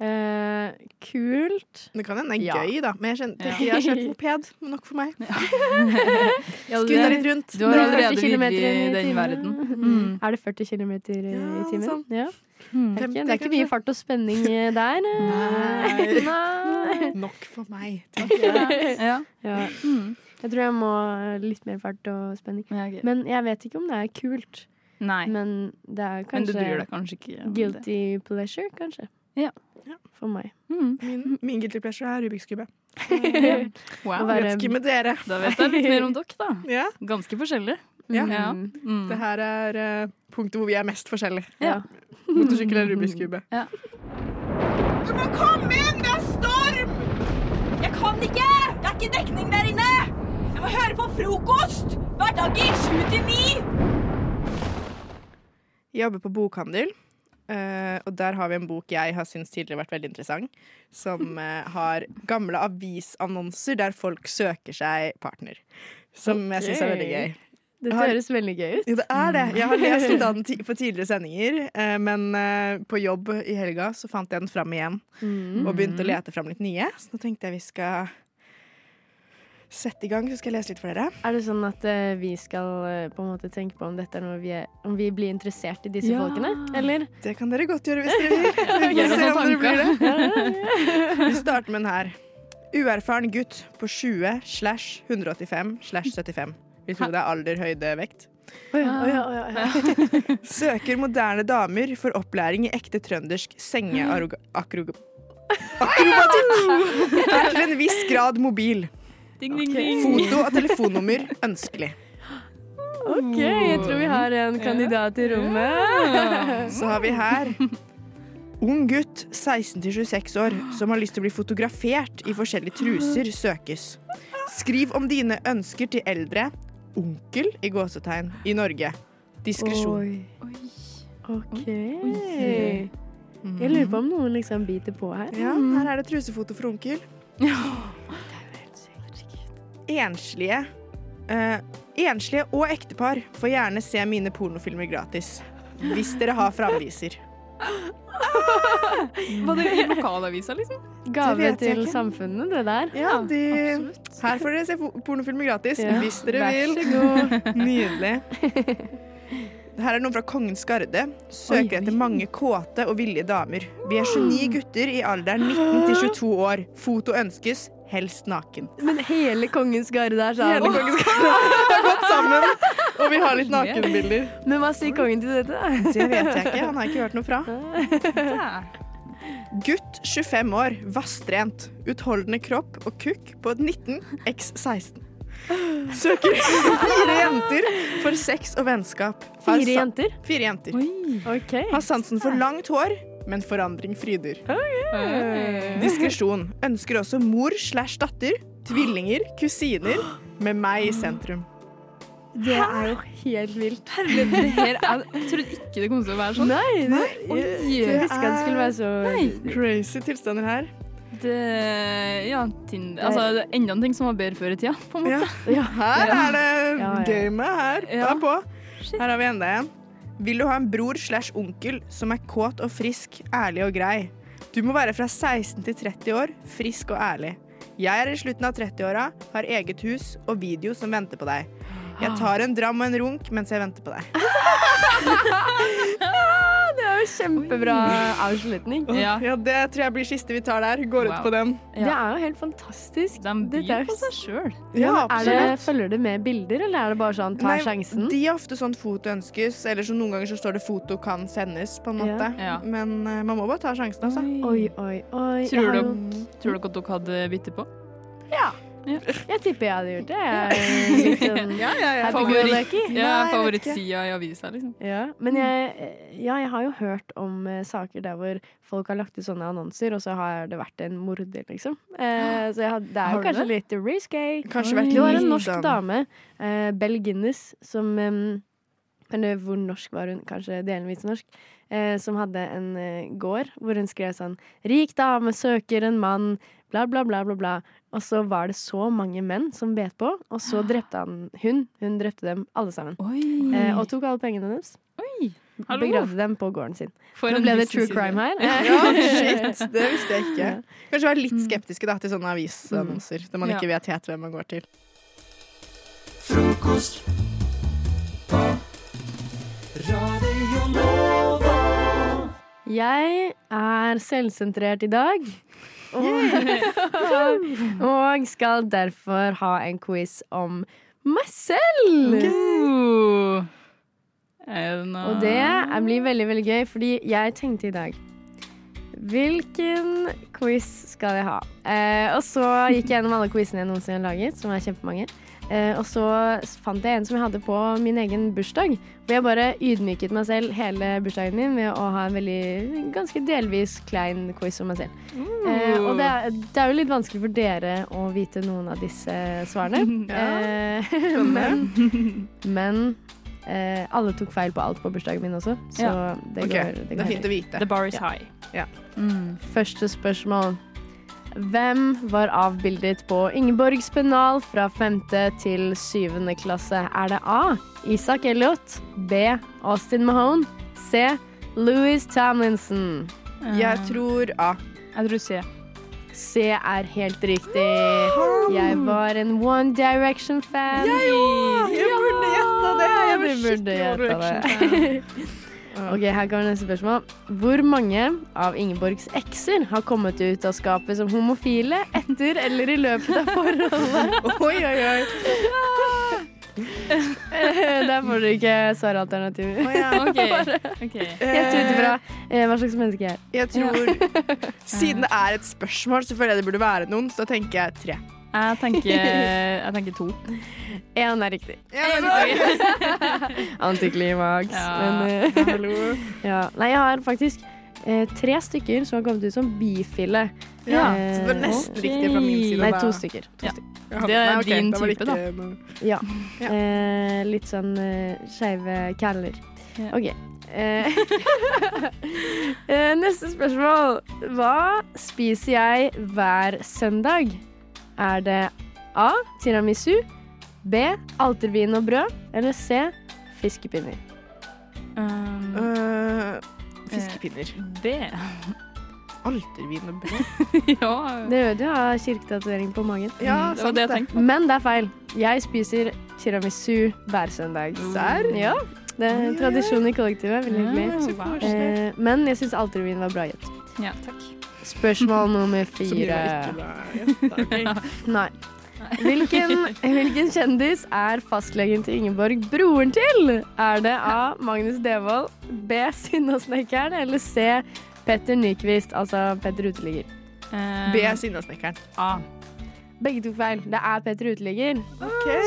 Speaker 5: Eh, kult.
Speaker 8: Det kan hende det
Speaker 5: Ja.
Speaker 8: er gøy, da. Men jeg kjenner,
Speaker 9: Ja.
Speaker 8: tenker, jeg har kjørt moped. men Nok for meg. Skuta
Speaker 9: du
Speaker 8: litt rundt.
Speaker 5: Når
Speaker 9: har
Speaker 5: det er
Speaker 9: allerede
Speaker 5: 40 kilometer
Speaker 9: virkelig
Speaker 5: i
Speaker 9: i den
Speaker 5: timen.
Speaker 9: verden.
Speaker 5: Er det 40 km i
Speaker 8: Ja,
Speaker 5: timen?
Speaker 8: sånn.
Speaker 5: Ja.
Speaker 9: Mm.
Speaker 5: Det er ikke, det
Speaker 8: 50
Speaker 5: er ikke mye fart og spenning eh, der. eh. Nei.
Speaker 8: Nok for meg.
Speaker 9: Ja.
Speaker 5: Ja.
Speaker 9: Mm.
Speaker 5: Jeg tror jeg må eh, litt mer fart og spenning.
Speaker 9: Ja, ok.
Speaker 5: Men jeg vet ikke om det er kult.
Speaker 9: Nei,
Speaker 5: Men det er
Speaker 9: men du
Speaker 5: kanskje
Speaker 9: bryr deg kanskje ikke om det.
Speaker 5: guilty pleasure, kanskje.
Speaker 9: Ja.
Speaker 8: Ja.
Speaker 5: For meg.
Speaker 9: Mm.
Speaker 8: Min, min guilty pleasure er Rubiks kube.
Speaker 5: Å
Speaker 9: Wow.
Speaker 5: være-
Speaker 8: Vet ikke med dere.
Speaker 9: Da vet jeg litt mer om dere, da.
Speaker 8: Ja.
Speaker 9: Ganske forskjellig.
Speaker 8: Ja.
Speaker 9: Ja.
Speaker 5: Mm.
Speaker 9: Mm.
Speaker 8: Det her er eh, punktet hvor vi er mest forskjellige.
Speaker 5: Ja.
Speaker 8: Motorsykkel eller Rubiks kube.
Speaker 10: Jeg kan ikke! Det er ikke dekning der inne! Jeg må høre på frokost! Hverdager 7 til 9!
Speaker 8: Jeg jobber på bokhandel, eh, og der har vi en bok jeg har syntes tidligere vært veldig interessant, som eh, har gamle avisannonser der folk søker seg partner. Som jeg syns er veldig gøy.
Speaker 5: Dette
Speaker 8: Har-
Speaker 5: høres veldig gøy ut.
Speaker 8: Ja, det er det. Jeg har lest litt av den Sånn ti- på tidligere sendinger, eh, men eh, på jobb i helga så fant jeg den fram igjen og
Speaker 5: Mm.
Speaker 8: begynte å lete fram litt nye. Så nå tenkte jeg vi skal sette i gang, så skal jeg lese litt for dere.
Speaker 5: Er det sånn at eh, vi skal eh, på en måte tenke på om dette er noe vi er Om vi blir interessert i disse
Speaker 9: Ja.
Speaker 5: folkene? Eller?
Speaker 8: Det kan dere godt gjøre hvis dere vil. Vi får
Speaker 9: Gjør
Speaker 8: se
Speaker 9: oss
Speaker 8: om
Speaker 9: noen
Speaker 8: dere blir det. Vi starter med den her. Uerfaren gutt på 20 slash 185 slash 75. Vi tror det er alder, høyde, vekt. Søker moderne damer for opplæring i ekte trøndersk sengeakrobatikk. Akrobatikk er til en viss grad mobil.
Speaker 9: Ding, ding,
Speaker 8: Foto og telefonnummer ønskelig.
Speaker 5: OK, jeg tror vi har en kandidat i rommet.
Speaker 8: Så har vi her Ung gutt 16-26 år som har lyst til å bli fotografert i forskjellige truser, søkes. Skriv om dine ønsker til eldre onkel i gåsetegn i Norge. Diskresjon.
Speaker 5: OK. Jeg lurer på om noen liksom biter på her.
Speaker 8: Mhm. Ja, her er det trusefoto for onkel. Enslige eh, Enslige og ektepar får gjerne se mine pornofilmer gratis. Hvis dere har framviser.
Speaker 9: Var det i lokalavisa, liksom?
Speaker 5: Gave
Speaker 8: vet jeg
Speaker 5: til
Speaker 8: ikke.
Speaker 5: samfunnet, det der.
Speaker 8: Ja, de, her får dere se po- pornofilmer gratis
Speaker 5: Ja.
Speaker 8: hvis dere
Speaker 5: Vær
Speaker 8: vil.
Speaker 5: så god.
Speaker 8: Nydelig. Her er noen fra Kongens Garde. Søker etter mange kåte og villige damer. Vi er 29 gutter i alderen 19 til 22 år. Foto ønskes, helst naken.
Speaker 5: Men hele Kongens Garde er sånn.
Speaker 8: Hele Kongens Garde har gått sammen, og vi har litt nakenbilder.
Speaker 5: Men hva sier kongen til dette? da?
Speaker 8: Det vet jeg ikke. Han har ikke hørt noe fra. Gutt 25 år, vasstrent. Utholdende kropp og kukk på 19 x 16. Søker fire jenter for sex og vennskap. Har
Speaker 5: Fire
Speaker 8: sa-
Speaker 5: jenter?
Speaker 8: Fire jenter.
Speaker 5: OK.
Speaker 8: Har sansen for langt hår, men forandring fryder. Diskresjon. Ønsker også mor slash datter, tvillinger, kusiner, med meg i sentrum.
Speaker 5: Det er jo helt vilt.
Speaker 9: Det her er, jeg trodde ikke det kom til å være sånn.
Speaker 5: Nei, det, jeg, jeg visste ikke at det skulle være så
Speaker 8: Crazy tilstander her.
Speaker 9: Det, ja, Tinder. Altså, det er enda en ting som var bedre før i tida, på en måte.
Speaker 8: Ja.
Speaker 5: Ja.
Speaker 8: Her er det
Speaker 5: Ja, ja.
Speaker 8: gamet her.
Speaker 9: Ja.
Speaker 8: Det er på. Her har vi enda en. Vil du ha en bror slash onkel som er kåt og frisk, ærlig og grei? Du må være fra 16 til 30 år, frisk og ærlig. Jeg er i slutten av 30-åra, har eget hus og video som venter på deg. Jeg tar en dram og en runk mens jeg venter på deg.
Speaker 5: Det er jo kjempebra avslutning.
Speaker 9: Ja.
Speaker 8: Ja, Det tror jeg blir siste vi tar der. Går
Speaker 9: Wow.
Speaker 8: ut på den.
Speaker 5: Det er jo helt fantastisk.
Speaker 9: De
Speaker 5: Dette er
Speaker 9: byr
Speaker 5: jo
Speaker 9: på seg sjøl.
Speaker 8: Ja,
Speaker 5: Er det, følger det med bilder, eller er det bare sånn ta
Speaker 8: Nei,
Speaker 5: sjansen?
Speaker 8: De er ofte sånn foto ønskes, eller så noen ganger så står det foto kan sendes, på en
Speaker 5: Ja.
Speaker 8: måte.
Speaker 9: Ja.
Speaker 8: Men eh, man må bare ta sjansen, altså.
Speaker 5: Oi, oi, oi. Jeg
Speaker 9: Tror
Speaker 5: har
Speaker 9: dere,
Speaker 5: jo-
Speaker 9: tror dere at dere hadde byttet på?
Speaker 5: Jeg tipper jeg hadde gjort det. Jeg er litt sånn
Speaker 8: Ja, ja, ja.
Speaker 5: happy go
Speaker 8: Nei, jeg
Speaker 5: lucky.
Speaker 9: Ja,
Speaker 8: vet ikke.
Speaker 9: favorittsida i avisa, liksom.
Speaker 5: Ja, men jeg, eh, ja, jeg har jo hørt om eh, saker der hvor folk har lagt ut sånne annonser, og så har det vært en morder, liksom. Eh, så jeg har, det er jo
Speaker 9: Har du
Speaker 5: kanskje litt risky.
Speaker 8: Kanskje vært
Speaker 5: Det var en
Speaker 8: litt
Speaker 5: norsk
Speaker 8: sånn-
Speaker 5: dame, eh, Bell Guinness, som eh, Eller hvor norsk var hun? Kanskje delvis norsk. Eh, som hadde en eh, gård hvor hun skrev sånn 'Rik dame søker en mann', bla, bla, bla, bla, bla. Og så var det så mange menn som bet på, og så drepte han hun. Hun drepte dem alle sammen.
Speaker 9: Oi.
Speaker 5: Eh, og tok alle pengene hennes.
Speaker 9: Hallo.
Speaker 5: Begravde dem på gården sin.
Speaker 9: For
Speaker 5: Nå
Speaker 9: en
Speaker 5: ble det true
Speaker 9: business
Speaker 5: crime
Speaker 9: idea.
Speaker 5: her.
Speaker 8: Ja, shit, det visste jeg ikke. Kanskje være litt skeptiske da, til sånne avisannonser der man
Speaker 9: Ja.
Speaker 8: ikke vet helt hvem man går til.
Speaker 5: Jeg er selvsentrert i dag. Og, og skal derfor ha en quiz om meg selv.
Speaker 9: Ooh. Uh. Er det
Speaker 11: sånn,
Speaker 9: noe
Speaker 5: Og det er- blir veldig veldig gøy, fordi jeg tenkte i dag Hvilken quiz skal jeg ha? Eh, og så gikk jeg gjennom alle quizene jeg noensinne har laget, som er kjempemange. Eh, og så fant jeg en som jeg hadde på min egen bursdag. Hvor jeg bare ydmyket meg selv hele bursdagen min ved å ha en veldig, ganske delvis klein quiz om meg selv. Eh, og det er, det er jo litt vanskelig for dere å vite noen av disse svarene. eh, men men eh, alle tok feil på alt på bursdagen min også, så det går,
Speaker 8: Ok,
Speaker 5: det
Speaker 8: Det
Speaker 5: går
Speaker 8: er fint å
Speaker 9: The
Speaker 8: vite.
Speaker 9: bar is high.
Speaker 5: Mm. Første spørsmål. Hvem var avbildet på Ingeborgs pennal fra 5. til 7. klasse? Er det A. Isak Elliot. B. Austin Mahone. C. Louis Tomlinson.
Speaker 8: Jeg tror A.
Speaker 9: Jeg tror C.
Speaker 5: C er helt riktig. Jeg var en One Direction-fan.
Speaker 8: Jeg burde gjetta det! Jeg var
Speaker 5: Du burde
Speaker 8: skikkelig
Speaker 5: gjette
Speaker 8: overreaction.
Speaker 5: det. OK, her kommer neste spørsmål. Hvor mange av Ingeborgs ekser har kommet ut av skapet som homofile etter eller i løpet av forholdet?
Speaker 8: Oi, oi, oi.
Speaker 5: Der får du ikke svaralternativ. Helt ut ifra eh, hva slags menneske jeg er.
Speaker 8: Jeg tror Siden det er et spørsmål, så føler jeg det burde være noen, så da tenker jeg tre.
Speaker 5: Jeg
Speaker 8: tenker- jeg
Speaker 5: to. Én er riktig. Antiklimaks.
Speaker 9: Ja,
Speaker 5: Men, eh, ja. Nei, jeg har faktisk eh, tre stykker som har kommet ut som bifile.
Speaker 8: Ja,
Speaker 5: Eh,
Speaker 8: så det var nesten riktig fra min side,
Speaker 5: Nei,
Speaker 8: da.
Speaker 5: to stykker. To
Speaker 8: Ja.
Speaker 5: stykker.
Speaker 8: Ja, Det er nei, ok, din da var det type, da. ikke noe-
Speaker 5: Ja. Eh, litt sånn eh, skeive caller. OK. Eh, eh, neste spørsmål. Hva spiser jeg hver søndag? Er det A. Tiramisu. B. Altervin og brød. Eller C. Fiskepinner.
Speaker 8: Eh, fiskepinner.
Speaker 9: Det.
Speaker 8: Altervin og brød.
Speaker 9: Mm.
Speaker 5: Det gjør du har kirketatovering på magen.
Speaker 8: Ja, Mm, det var sant det jeg det. tenkte
Speaker 5: Men det er feil. Jeg spiser tiramisu hver søndag.
Speaker 8: Serr?
Speaker 5: Ja. Det er en tradisjon i kollektivet. Veldig
Speaker 9: Ja, så
Speaker 5: hyggelig.
Speaker 9: koselig.
Speaker 5: Eh, men jeg syns altervin var bra gjett.
Speaker 9: Ja, takk.
Speaker 5: Spørsmål nummer
Speaker 9: Som de
Speaker 5: fire.
Speaker 9: var ikke
Speaker 5: Nei. Hvilken, hvilken kjendis er fastlegen til Ingeborg broren til? Er det A. Magnus Devold, B. Sinnasnekkeren eller C. Petter Nyquist, altså Petter Uteligger?
Speaker 8: B.
Speaker 9: Eh,
Speaker 8: Sinnasnekkeren.
Speaker 5: A. Begge tok feil. Det er Petter Uteligger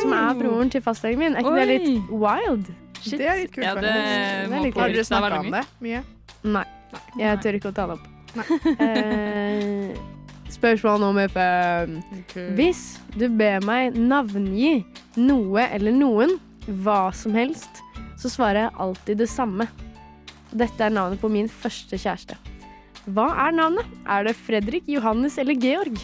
Speaker 5: som er broren til fastlegen min. Er ikke det
Speaker 8: Oi.
Speaker 5: litt wild? Shit.
Speaker 8: Det er litt kult.
Speaker 5: Ja, det
Speaker 8: faktisk.
Speaker 5: må
Speaker 8: Har dere
Speaker 5: påvirke deg
Speaker 8: snakka
Speaker 5: veldig
Speaker 8: om
Speaker 5: mye.
Speaker 8: det mye?
Speaker 5: Nei. Jeg tør ikke å ta det opp. Eh, spørsmål nummer fem. Hvis du ber meg navngi noe eller noen, hva som helst, så svarer jeg alltid det samme. Dette er navnet på min første kjæreste. Hva er navnet? Er det Fredrik, Johannes eller Georg?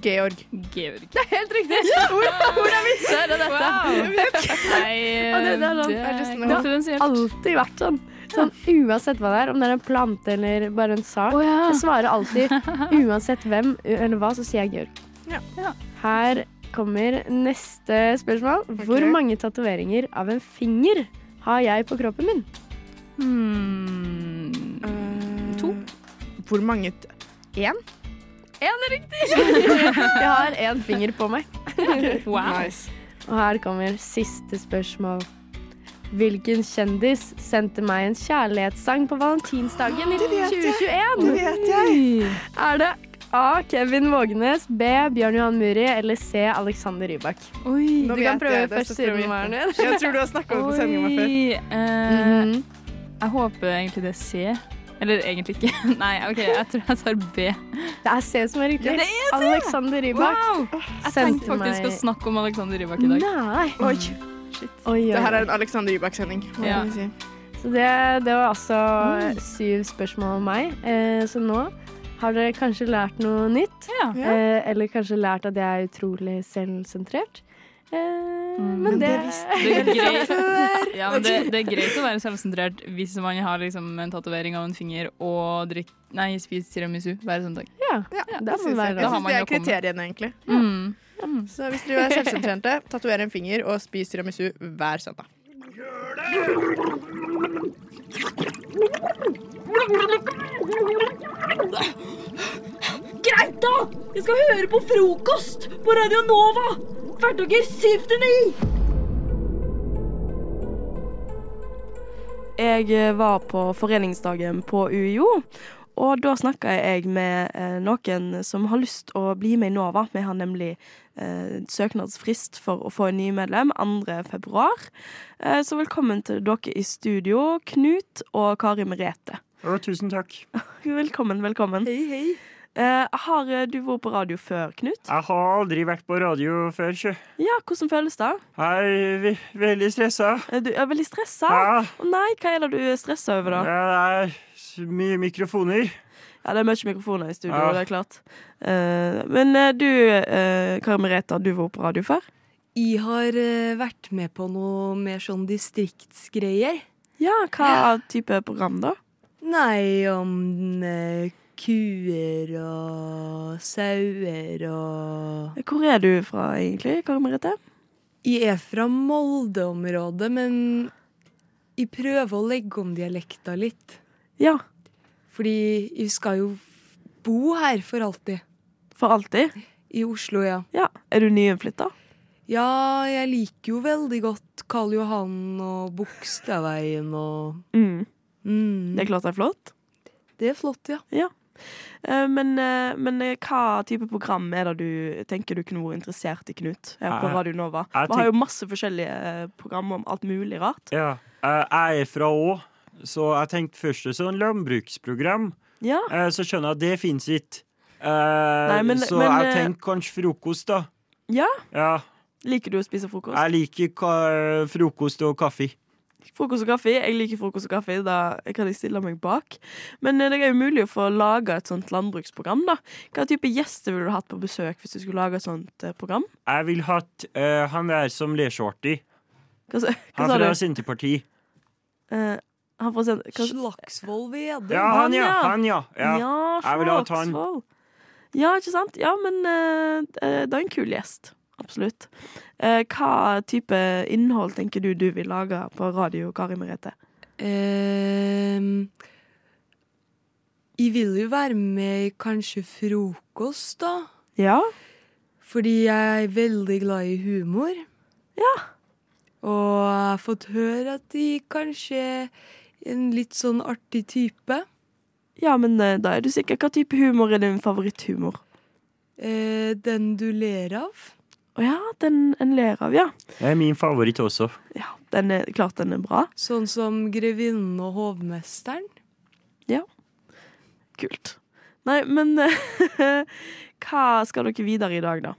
Speaker 8: Georg.
Speaker 9: Georg.
Speaker 5: Det er helt riktig! Hvor, hvor er vitsen? Er det dette?
Speaker 9: Nei,
Speaker 5: Og det, det, er sånn,
Speaker 9: det er
Speaker 5: det har alltid vært sånn. Sånn, Uansett hva det er, om det er en plante eller bare en sak.
Speaker 8: Ah.
Speaker 5: Jeg svarer alltid uansett hvem u- eller hva, så sier jeg Georg. Her kommer neste spørsmål. Hvor mange tatoveringer av en finger har jeg på kroppen min?
Speaker 8: to. Eh, Hvor mange t- Én?
Speaker 5: Én er riktig! Jeg har én finger på meg.
Speaker 8: Wow. Nice.
Speaker 5: Og her kommer siste spørsmål. Hvilken kjendis sendte meg en kjærlighetssang på valentinsdagen i
Speaker 10: Det vet jeg.
Speaker 5: 2021?
Speaker 10: Det vet jeg.
Speaker 5: Er det A. Kevin Vågenes, B. Bjørn Johan Muri eller C. Alexander Rybak?
Speaker 8: Nå
Speaker 5: du
Speaker 8: vet
Speaker 5: kan prøve
Speaker 8: jeg det,
Speaker 5: først
Speaker 8: så prøver vi
Speaker 5: siden
Speaker 8: det.
Speaker 5: det er
Speaker 8: Jeg tror du har snakket om det på sendingen min
Speaker 9: Oi,
Speaker 8: før.
Speaker 9: eh,
Speaker 11: Mm-hmm.
Speaker 5: Mm.
Speaker 9: Jeg håper egentlig det er C. Eller egentlig ikke. Nei, OK, jeg tror jeg tar B.
Speaker 5: Det er C som er riktig.
Speaker 9: Ja, det er C.
Speaker 5: Alexander Rybak.
Speaker 9: Wow. Jeg tenkte faktisk å snakke om Alexander Rybak i dag.
Speaker 5: Nei.
Speaker 8: Oi.
Speaker 5: Oi, oi,
Speaker 8: Det her
Speaker 5: oi.
Speaker 8: er en Alexander Rybak-sending. må
Speaker 5: Ja.
Speaker 8: jeg si.
Speaker 5: Så det, det var altså
Speaker 8: Mm.
Speaker 5: syv spørsmål om meg. Eh, så nå har dere kanskje lært noe nytt.
Speaker 8: Ja.
Speaker 5: Eh, eller kanskje lært at jeg er utrolig selvsentrert. Eh,
Speaker 12: Mm.
Speaker 5: men det,
Speaker 9: Det er greit, ja, men det, det er greit å være selvsentrert hvis man har liksom en tatovering av en finger og drikk, nei, spiser tiramisu hver søndag.
Speaker 5: Ja,
Speaker 8: det syns jeg. Jeg
Speaker 9: Da har
Speaker 8: syns
Speaker 9: man
Speaker 8: det
Speaker 9: jo
Speaker 8: er
Speaker 9: kommet.
Speaker 8: kriteriene, egentlig.
Speaker 9: Mm.
Speaker 8: Så hvis dere er selvsentrerte, tatover en finger og spis tiramisu hver søndag.
Speaker 10: Greit, da! Jeg skal høre på frokost på Radio Nova! Hverdager 7 til 9!
Speaker 4: Jeg var på foreningsdagen på UiO, og da snakka jeg med eh, noen som har lyst å bli med i NOVA. Vi har nemlig eh, søknadsfrist for å få en ny medlem 2. februar. Eh, så velkommen til dere i studio, Knut og Kari Merete.
Speaker 13: tusen takk.
Speaker 4: Velkommen, velkommen.
Speaker 13: Hei, hei.
Speaker 4: har eh, du vært på radio før, Knut?
Speaker 13: Jeg har aldri vært på radio før, sjø.
Speaker 4: Ja, hvordan føles det? Eh,
Speaker 13: Jeg er ve veldig stressa.
Speaker 4: Du er veldig stressa?
Speaker 13: Ja.
Speaker 4: Å nei, hva er det du er stressa over, da?
Speaker 13: Ja, det er s- mye mikrofoner.
Speaker 4: Ja, det er mye mikrofoner i studio,
Speaker 13: Ja.
Speaker 4: det er klart. Eh, men eh, du, eh, Kari Merete, har du vært på radio før?
Speaker 12: Jeg har eh, vært med på noe mer sånn distriktsgreier.
Speaker 4: Ja, hva type program da?
Speaker 12: Nei, om eh, kuer og sauer og
Speaker 4: Hvor er du fra egentlig, Kari Merete?
Speaker 12: Jeg er fra Molde-området, men jeg prøver å legge om dialekta litt.
Speaker 4: Ja.
Speaker 12: Fordi jeg skal jo bo her for alltid.
Speaker 4: For alltid?
Speaker 12: I Oslo, ja.
Speaker 4: Ja. Er du nyinnflytta?
Speaker 12: Ja, jeg liker jo veldig godt
Speaker 14: Karl Johan og Bogstadveien og
Speaker 4: Mm. Det er klart det er flott.
Speaker 14: Det er flott, ja.
Speaker 4: Ja. Eh, Men, eh, men eh, hva type program er det du tenker du kunne vært interessert i, Knut? eh, På
Speaker 13: Jeg-
Speaker 4: Radio Nova.
Speaker 13: jeg
Speaker 4: Vi har jo
Speaker 13: tenk-
Speaker 4: masse forskjellige eh, program om alt mulig rart.
Speaker 13: Ja. Eh, Jeg er fra Å, så jeg tenkte først et sånn landbruksprogram.
Speaker 4: Ja.
Speaker 13: Eh, Så skjønner jeg at det fins ikke. Eh,
Speaker 4: men-
Speaker 13: så
Speaker 4: men,
Speaker 13: jeg
Speaker 4: eh,
Speaker 13: tenkte kanskje frokost, da.
Speaker 4: Ja?
Speaker 13: Ja.
Speaker 4: Liker du å spise frokost?
Speaker 13: Jeg liker ka frokost og kaffe.
Speaker 4: Frokost og kaffe. Jeg liker frokost og kaffe. Da kan jeg stille meg bak. Men eh, det er jo mulig å få laga et sånt landbruksprogram, da. Hva type gjester ville du hatt på besøk hvis du skulle lage et sånt eh, program?
Speaker 13: Jeg vil hatt eh, han der som ler shorty.
Speaker 4: Hva, sa- hva
Speaker 13: Han
Speaker 4: sa du?
Speaker 13: fra Senterpartiet.
Speaker 4: Eh, han fra Sen- hva-
Speaker 14: Slagsvold Vedum.
Speaker 13: Ja, han, ja. Han, ja. ja.
Speaker 4: Ja,
Speaker 13: jeg vil ha han.
Speaker 4: Slagsvold. Ja, ikke sant? Ja, men eh, eh, det er en kul gjest. Absolutt. Eh, hva type innhold tenker du du vil lage på radio, Kari Merete?
Speaker 14: Ehm, jeg vil jo være med i kanskje frokost, da.
Speaker 4: Ja?
Speaker 14: Fordi jeg er veldig glad i humor.
Speaker 4: Ja.
Speaker 14: Og jeg har fått høre at de kanskje er en litt sånn artig type.
Speaker 4: Ja, men eh, da er du sikker. Hva type humor er din favoritthumor?
Speaker 14: Eh, den du ler av.
Speaker 4: Å ja, den en ler av, ja.
Speaker 13: Det er min favoritt også.
Speaker 4: Den er, klart den er bra.
Speaker 14: Sånn som grevinnen og hovmesteren.
Speaker 4: Ja. Kult. Nei, men eh, hva skal dere videre i dag, da?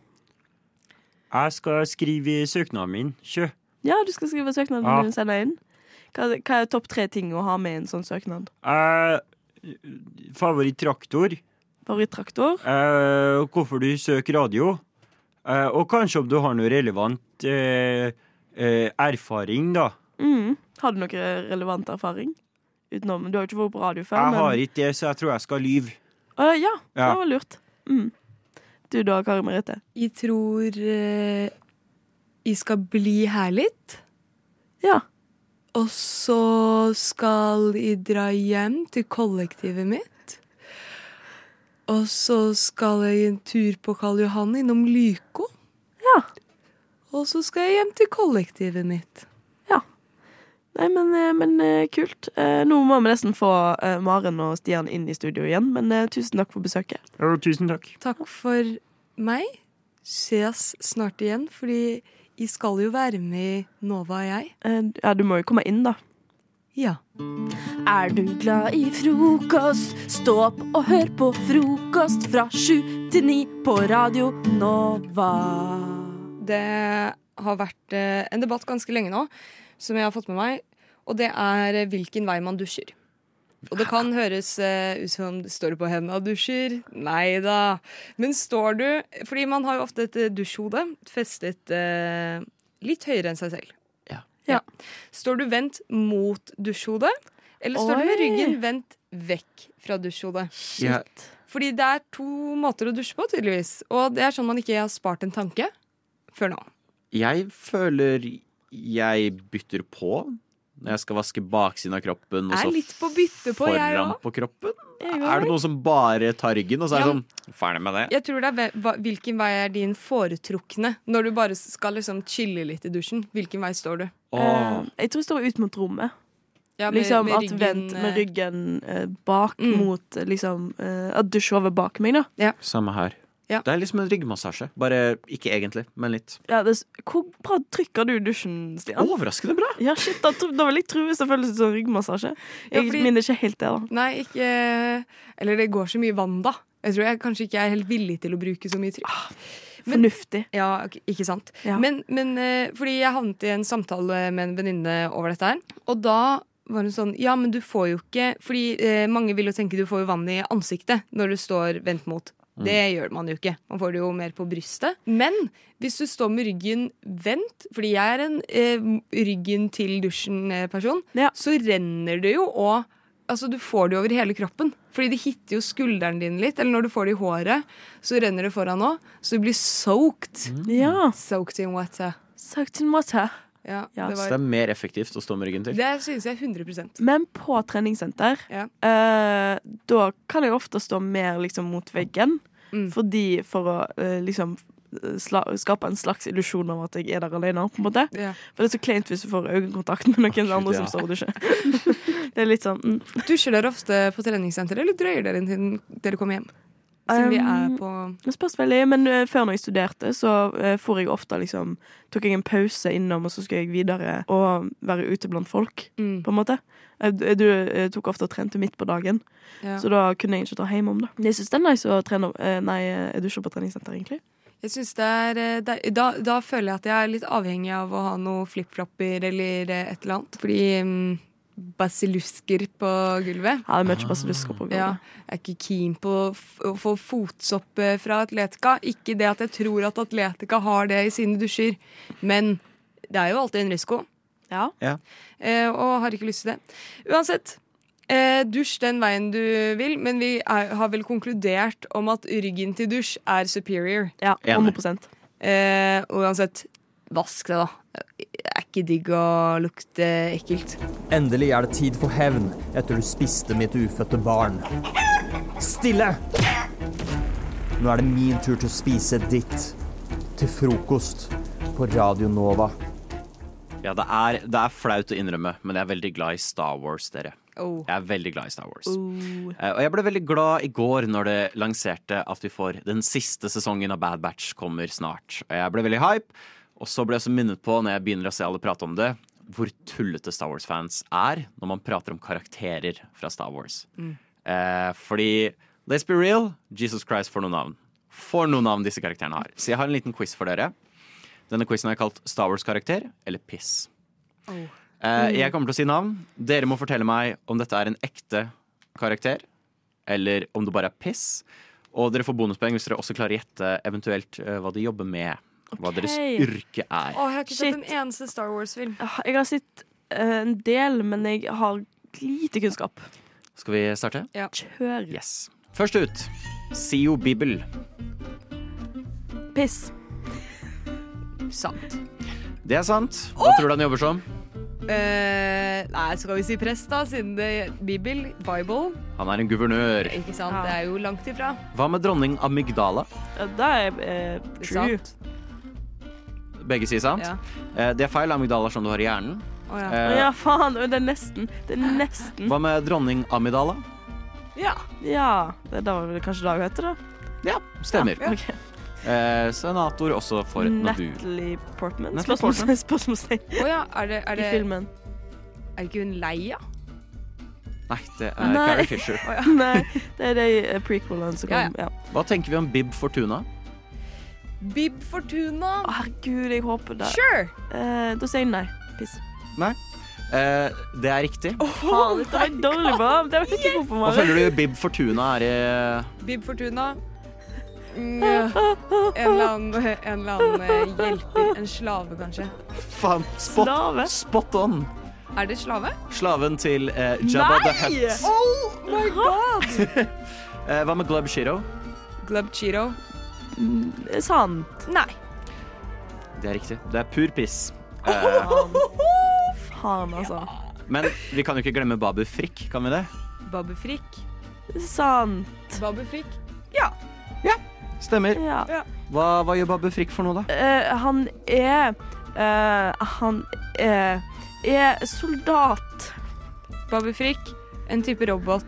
Speaker 13: Jeg skal skrive i søknaden min. Kjø.
Speaker 4: Ja, du skal skrive søknaden
Speaker 13: Ja.
Speaker 4: din og sende inn. Hva, hva er topp tre ting å ha med i en sånn søknad?
Speaker 13: Eh, Favorittraktor.
Speaker 4: Favorittraktor.
Speaker 13: Eh, hvorfor du søker radio. Eh, og kanskje om du har noe relevant eh, eh, erfaring, da.
Speaker 4: Mm. Har du noe relevant erfaring? Utenom, Du har jo ikke vært på radio før.
Speaker 13: Jeg
Speaker 4: men-
Speaker 13: har ikke det, så jeg tror jeg skal lyve.
Speaker 4: Å, ja,
Speaker 13: Ja.
Speaker 4: det var lurt. Mm. Du da, Kari Merete?
Speaker 14: Jeg tror eh, jeg skal bli her litt.
Speaker 4: Ja.
Speaker 14: Og så skal jeg dra hjem til kollektivet mitt. Og så skal jeg en tur på Karl Johan innom Lyko.
Speaker 4: Ja.
Speaker 14: Og så skal jeg hjem til kollektivet mitt.
Speaker 4: Nei, men, eh, men eh, kult. Eh, Nå må vi nesten få eh, Maren og Stian inn i studio igjen, men eh, tusen takk for besøket.
Speaker 13: Jo, tusen takk.
Speaker 14: Takk for meg. Ses snart igjen, fordi jeg skal jo være med i Nova, jeg.
Speaker 4: Eh, Ja, du må jo komme inn, da.
Speaker 14: Ja.
Speaker 3: Er du glad i frokost? Stå opp og hør på frokost fra sju til ni på Radio Nova.
Speaker 12: Det har vært eh, en debatt ganske lenge nå, som jeg har fått med meg. Og det er eh, hvilken vei man dusjer. Og det kan høres eh, ut som står du på hendene og dusjer? Nei da. Men står du Fordi man har jo ofte et eh, dusjhode festet eh, litt høyere enn seg selv. Ja. Står du vendt mot dusjhodet, eller står du med
Speaker 5: Oi.
Speaker 12: ryggen vendt vekk fra dusjhodet?
Speaker 5: Ja.
Speaker 12: Fordi det er to måter å dusje på, tydeligvis. Og det er sånn man ikke har spart en tanke før nå.
Speaker 15: Jeg føler jeg bytter på når jeg skal vaske baksiden av kroppen og
Speaker 12: Jeg
Speaker 15: så
Speaker 12: er litt på bytte på, jeg
Speaker 15: foran
Speaker 12: òg.
Speaker 15: på kroppen.
Speaker 12: Jeg
Speaker 15: Er det
Speaker 12: òg.
Speaker 15: noen som bare tar ryggen, og så er det
Speaker 12: Ja.
Speaker 15: sånn Ferdig med det.
Speaker 12: Jeg tror det er ve- hva- hvilken vei er din foretrukne når du bare skal liksom chille litt i dusjen. Hvilken vei står du?
Speaker 4: Eh, Jeg tror jeg står ut mot rommet.
Speaker 12: Ja, med-
Speaker 4: liksom
Speaker 12: med
Speaker 4: at
Speaker 12: ryggen,
Speaker 4: vent med
Speaker 12: eh,
Speaker 4: ryggen eh, bak mot eh, liksom eh, At dusjhodet bak meg, da.
Speaker 15: Samme her.
Speaker 12: Ja.
Speaker 15: Det er liksom en ryggmassasje. Bare ikke egentlig, men litt.
Speaker 4: Ja, det, s- hvor bra trykker du dusjen, Stian?
Speaker 15: Overraskende bra.
Speaker 4: Ja, shit, da, tro- da vil jeg tro hvis det føles ut som ryggmassasje.
Speaker 12: Ja,
Speaker 4: Jeg
Speaker 12: fordi-
Speaker 4: minner ikke helt det, da.
Speaker 12: Nei, ikke Eller det går så mye vann, da. Jeg tror jeg kanskje ikke er helt villig til å bruke så mye trykk.
Speaker 4: Fornuftig.
Speaker 12: Ja, ok, ikke sant.
Speaker 4: Ja.
Speaker 12: Men, men eh, fordi jeg havnet i en samtale med en venninne over dette her, og da var hun sånn Ja, men du får jo ikke Fordi eh, mange vil jo tenke du får jo vann i ansiktet når du står vendt mot.
Speaker 5: Mm.
Speaker 12: Det gjør man jo ikke. Man får det jo mer på brystet. Men hvis du står med ryggen vendt, fordi jeg er en eh, ryggen til dusjen-person, så renner det jo og Altså, du får det jo over hele kroppen. Fordi det hitter jo skulderen din litt. Eller når du får det i håret, så renner det foran òg. Så du blir soaked. Soaked in water.
Speaker 4: Soaked in water.
Speaker 12: Ja, det
Speaker 15: Så
Speaker 12: var
Speaker 15: det er mer effektivt å stå med ryggen til.
Speaker 12: Det syns jeg 100
Speaker 4: Men på treningssenter, eh,
Speaker 12: Mm.
Speaker 4: da kan jeg ofte stå mer liksom mot veggen. Fordi for å eh, liksom sla, skape en slags illusjon om at jeg er der alene. På en måte.
Speaker 12: Ja.
Speaker 4: For det er så kleint hvis du får øyekontakt med noen andre som
Speaker 12: ja.
Speaker 4: står og dusjer. det er litt sånn mm.
Speaker 12: Dusjer dere ofte på treningssenteret, eller drøyer dere til dere kommer hjem? Siden vi er på
Speaker 4: Det spørs veldig, men eh, før når jeg studerte, så eh, for jeg ofte liksom Tok jeg en pause innom, og så skulle jeg videre og være ute blant folk,
Speaker 12: Mm.
Speaker 4: på en måte. Jeg, jeg, du, jeg tok ofte og trente midt på dagen,
Speaker 12: Ja.
Speaker 4: så da kunne jeg ikke dra hjem om det. Men Jeg syns det er nice å trene eh, Nei, jeg dusjer på treningssenter, egentlig.
Speaker 12: Jeg synes det er, eh, det er da, da føler jeg at jeg er litt avhengig av å ha noe flipflopper eller eh, et eller annet. Fordi mm, basillusker på gulvet.
Speaker 4: Ja, det er mye basillusker på gulvet.
Speaker 12: Ja, jeg er ikke keen på å f- å få fotsopp eh, fra Atletica. Ikke det at jeg tror at Atletica har det i sine dusjer, men det er jo alltid en risiko.
Speaker 4: Ja.
Speaker 15: Ja.
Speaker 12: Eh, og har ikke lyst til det. Uansett, eh, dusj den veien du vil, men vi er, har vel konkludert om at ryggen til dusj er superior.
Speaker 4: Ja,
Speaker 15: Enig.
Speaker 4: 100
Speaker 12: eh, og Uansett, vask det, da. Det er ikke digg å lukte ekkelt.
Speaker 16: Endelig er det tid for hevn etter du spiste mitt ufødte barn. Stille! Nå er det min tur til å spise ditt. Til frokost på Radio Nova.
Speaker 15: Ja, det er, det er flaut å innrømme, men jeg er veldig glad i Star Wars, dere.
Speaker 12: Oh.
Speaker 15: Jeg er veldig glad i Star Wars.
Speaker 12: Oh.
Speaker 15: Eh, Og jeg ble veldig glad i går når det lanserte at vi får den siste sesongen av Bad Batch kommer snart. Og jeg ble veldig hype, og så ble jeg også minnet på, når jeg begynner å se alle prate om det, hvor tullete Star Wars-fans er når man prater om karakterer fra Star Wars.
Speaker 12: Mm.
Speaker 15: Eh, fordi let's be real, Jesus Christ får noen navn. For noen navn disse karakterene har. Så jeg har en liten quiz for dere. Denne quizen har jeg kalt Star Wars-karakter eller piss. Eh,
Speaker 12: Mm.
Speaker 15: jeg kommer til å si navn. Dere må fortelle meg om dette er en ekte karakter, eller om det bare er piss. Og dere får bonuspoeng hvis dere også klarer å gjette eventuelt eh, hva de jobber med. Hva deres yrke er.
Speaker 12: Å, jeg har ikke
Speaker 4: Shit.
Speaker 12: sett en eneste Star Wars-film.
Speaker 4: Ah, Jeg har sett eh, en del, men jeg har lite kunnskap.
Speaker 15: Skal vi starte?
Speaker 4: Kjør.
Speaker 15: Yes. Først ut Sio Bibel.
Speaker 4: Piss.
Speaker 12: Sant.
Speaker 15: Det er sant. Hva tror du han jobber som?
Speaker 12: Eh, nei, så kan vi si prest, da, siden det Bibel, Bible.
Speaker 15: Han er en guvernør.
Speaker 12: Ikke sant? Det er jo langt ifra.
Speaker 15: Hva med dronning Amygdala?
Speaker 4: Det er eh, true.
Speaker 15: Begge sier sant.
Speaker 4: Ja.
Speaker 15: Eh, det er feil. Amygdala er som du har i hjernen.
Speaker 4: Å ja.
Speaker 15: Eh,
Speaker 4: Å ja, faen. Det er nesten. Det er nesten.
Speaker 15: Hva med dronning Amidala?
Speaker 4: Ja. ja. Det er da, kanskje det hun heter, da?
Speaker 15: Ja, stemmer.
Speaker 4: Ja, ok.
Speaker 15: Eh, senator også for Nabu.
Speaker 4: Natalie Portman?
Speaker 15: Natalie Portman.
Speaker 4: Spørsmålstegn. spørsmålstegn.
Speaker 12: Å ja, er det, er det
Speaker 4: I filmen.
Speaker 12: Eh, Er ikke hun Leia?
Speaker 15: Nei, det er
Speaker 4: Nei.
Speaker 15: Carrie Fisher.
Speaker 4: Nei, det er de eh, prequelene som
Speaker 12: Ja,
Speaker 4: kom. Ja.
Speaker 15: Hva tenker vi om Bib Fortuna?
Speaker 12: Bib Fortuna.
Speaker 4: Herregud, jeg håper det.
Speaker 12: Sure.
Speaker 4: Eh, da sier jeg nei. Piss.
Speaker 15: Nei. Eh, det er riktig.
Speaker 4: Faen, dette var dårlig, Bob. Det var ikke god på
Speaker 15: Hva
Speaker 4: meg.
Speaker 15: føler du Bib Fortuna er i
Speaker 12: Bib Fortuna. Mm, ja. En eller annen, en eller annen eh, hjelper. En slave, kanskje.
Speaker 15: Faen, spot,
Speaker 12: Slave?
Speaker 15: spot on!
Speaker 12: Er det slave?
Speaker 15: Slaven til eh, Jabba the Hutt.
Speaker 12: Oh my god!
Speaker 15: Eh, hva med Glub Shiro?
Speaker 12: Glub Cheeto.
Speaker 4: Sant.
Speaker 12: Nei.
Speaker 15: Det er riktig. Det er pur piss.
Speaker 12: Oh,
Speaker 15: Eh,
Speaker 4: Faen, altså.
Speaker 15: men vi kan jo ikke glemme Babu Frikk, kan vi det?
Speaker 12: Babu Frikk.
Speaker 4: Sant.
Speaker 12: Babu Frikk.
Speaker 15: Stemmer.
Speaker 4: Ja.
Speaker 15: Hva, hva gjør Babu Frikk for noe, da?
Speaker 4: Eh, han er eh, Han er, er soldat.
Speaker 12: Babu Frikk. En type robot.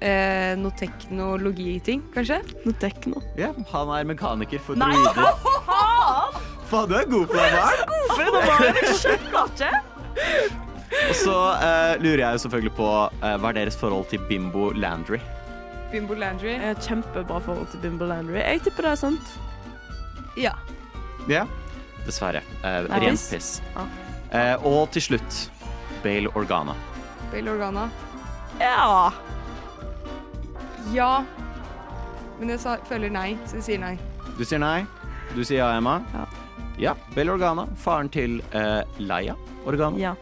Speaker 12: Eh, noe teknologiting, kanskje?
Speaker 4: Noe tekno.
Speaker 15: Ja, han er mekaniker for
Speaker 12: Nei.
Speaker 15: druider. Faen, du er god på det her! Og så eh, lurer jeg jo selvfølgelig på eh, hva er deres forhold til Bimbo Landry?
Speaker 12: Bimbo Landry.
Speaker 4: Jeg har kjempebra forhold til Bimbo Landry. Jeg tipper det er sant.
Speaker 12: Ja.
Speaker 15: Ja. Dessverre. Eh,
Speaker 4: Nei.
Speaker 15: Ren
Speaker 4: Piss.
Speaker 15: piss.
Speaker 4: Ja.
Speaker 15: Eh, og til slutt Bale Organa.
Speaker 12: Bale Organa.
Speaker 4: Ja.
Speaker 12: Ja. Men jeg sa, føler nei, så jeg sier nei.
Speaker 15: Du sier nei. Du sier ja, Emma.
Speaker 4: Ja.
Speaker 15: Bale Organa. Faren til eh, Leia Organa.
Speaker 4: Ja.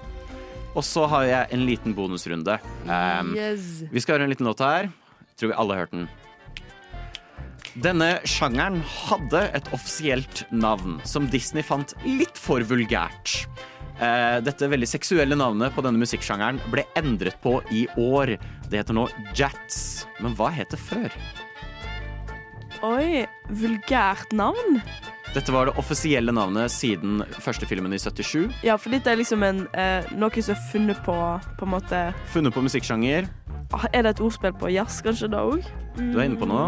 Speaker 15: Og så har jeg en liten bonusrunde. Ehm,
Speaker 12: Yes.
Speaker 15: Vi skal høre en liten låt her. Tror vi alle har hørt den. Denne sjangeren hadde et offisielt navn som Disney fant litt for vulgært. Eh, Dette veldig seksuelle navnet på denne musikksjangeren ble endret på i år. Det heter nå jats. Men hva het det før?
Speaker 4: Oi, vulgært navn.
Speaker 15: Dette var det offisielle navnet siden første filmen i 77.
Speaker 4: Ja, for dette er liksom en, eh, noe som er funnet på, på en måte
Speaker 15: Funnet på musikksjanger.
Speaker 4: Ah, Er det et ordspill på jazz, kanskje, da òg?
Speaker 15: Du er inne på noe.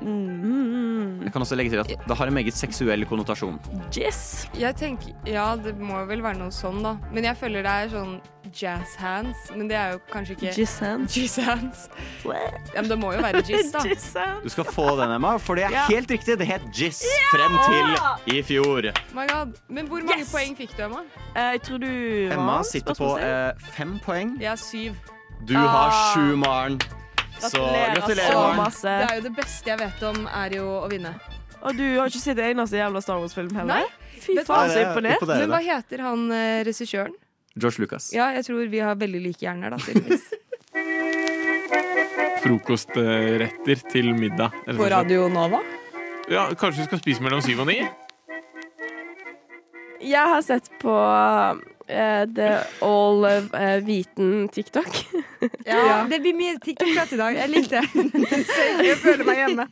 Speaker 4: Mm.
Speaker 15: Jeg kan også legge til at det har en meget seksuell konnotasjon.
Speaker 4: Jazz.
Speaker 17: Jeg tenker, ja, det må vel være noe sånn, da. Men jeg føler det er sånn jazz hands. Men det er jo kanskje ikke
Speaker 4: Jizz hands?
Speaker 17: Jizz hands. Ja, men det må jo være jizz, da.
Speaker 4: Jizz hands.
Speaker 15: Du skal få den, Emma, for det er
Speaker 17: Ja.
Speaker 15: helt riktig. Det het Jizz frem til i fjor.
Speaker 17: My God. Men hvor mange poeng fikk du, Emma?
Speaker 4: Eh, jeg tror du
Speaker 15: Emma sitter på eh, fem poeng.
Speaker 17: Jeg har syv.
Speaker 15: Du har
Speaker 17: Ah.
Speaker 15: sju, Maren. eh, Så gratulerer, Maren.
Speaker 17: Det er jo det beste jeg vet om, er jo å vinne.
Speaker 4: Og du har ikke sett en eneste jævla Star Wars-film heller? Fy
Speaker 17: Vet du
Speaker 4: faen,
Speaker 17: hva?
Speaker 4: så imponert.
Speaker 17: Men hva heter han eh, regissøren?
Speaker 15: George Lucas.
Speaker 17: Ja, jeg tror vi har veldig like hjerner, da, tydeligvis.
Speaker 1: Frokostretter til middag. rett og
Speaker 17: På
Speaker 1: slett.
Speaker 17: Radio Nova?
Speaker 1: Ja, Kanskje vi skal spise mellom syv og ni?
Speaker 3: Jeg har sett på eh, The All eh, Viten TikTok.
Speaker 17: Ja, Det blir mye TikTok-prat i dag. Jeg likte det. Jeg føler meg hjemme.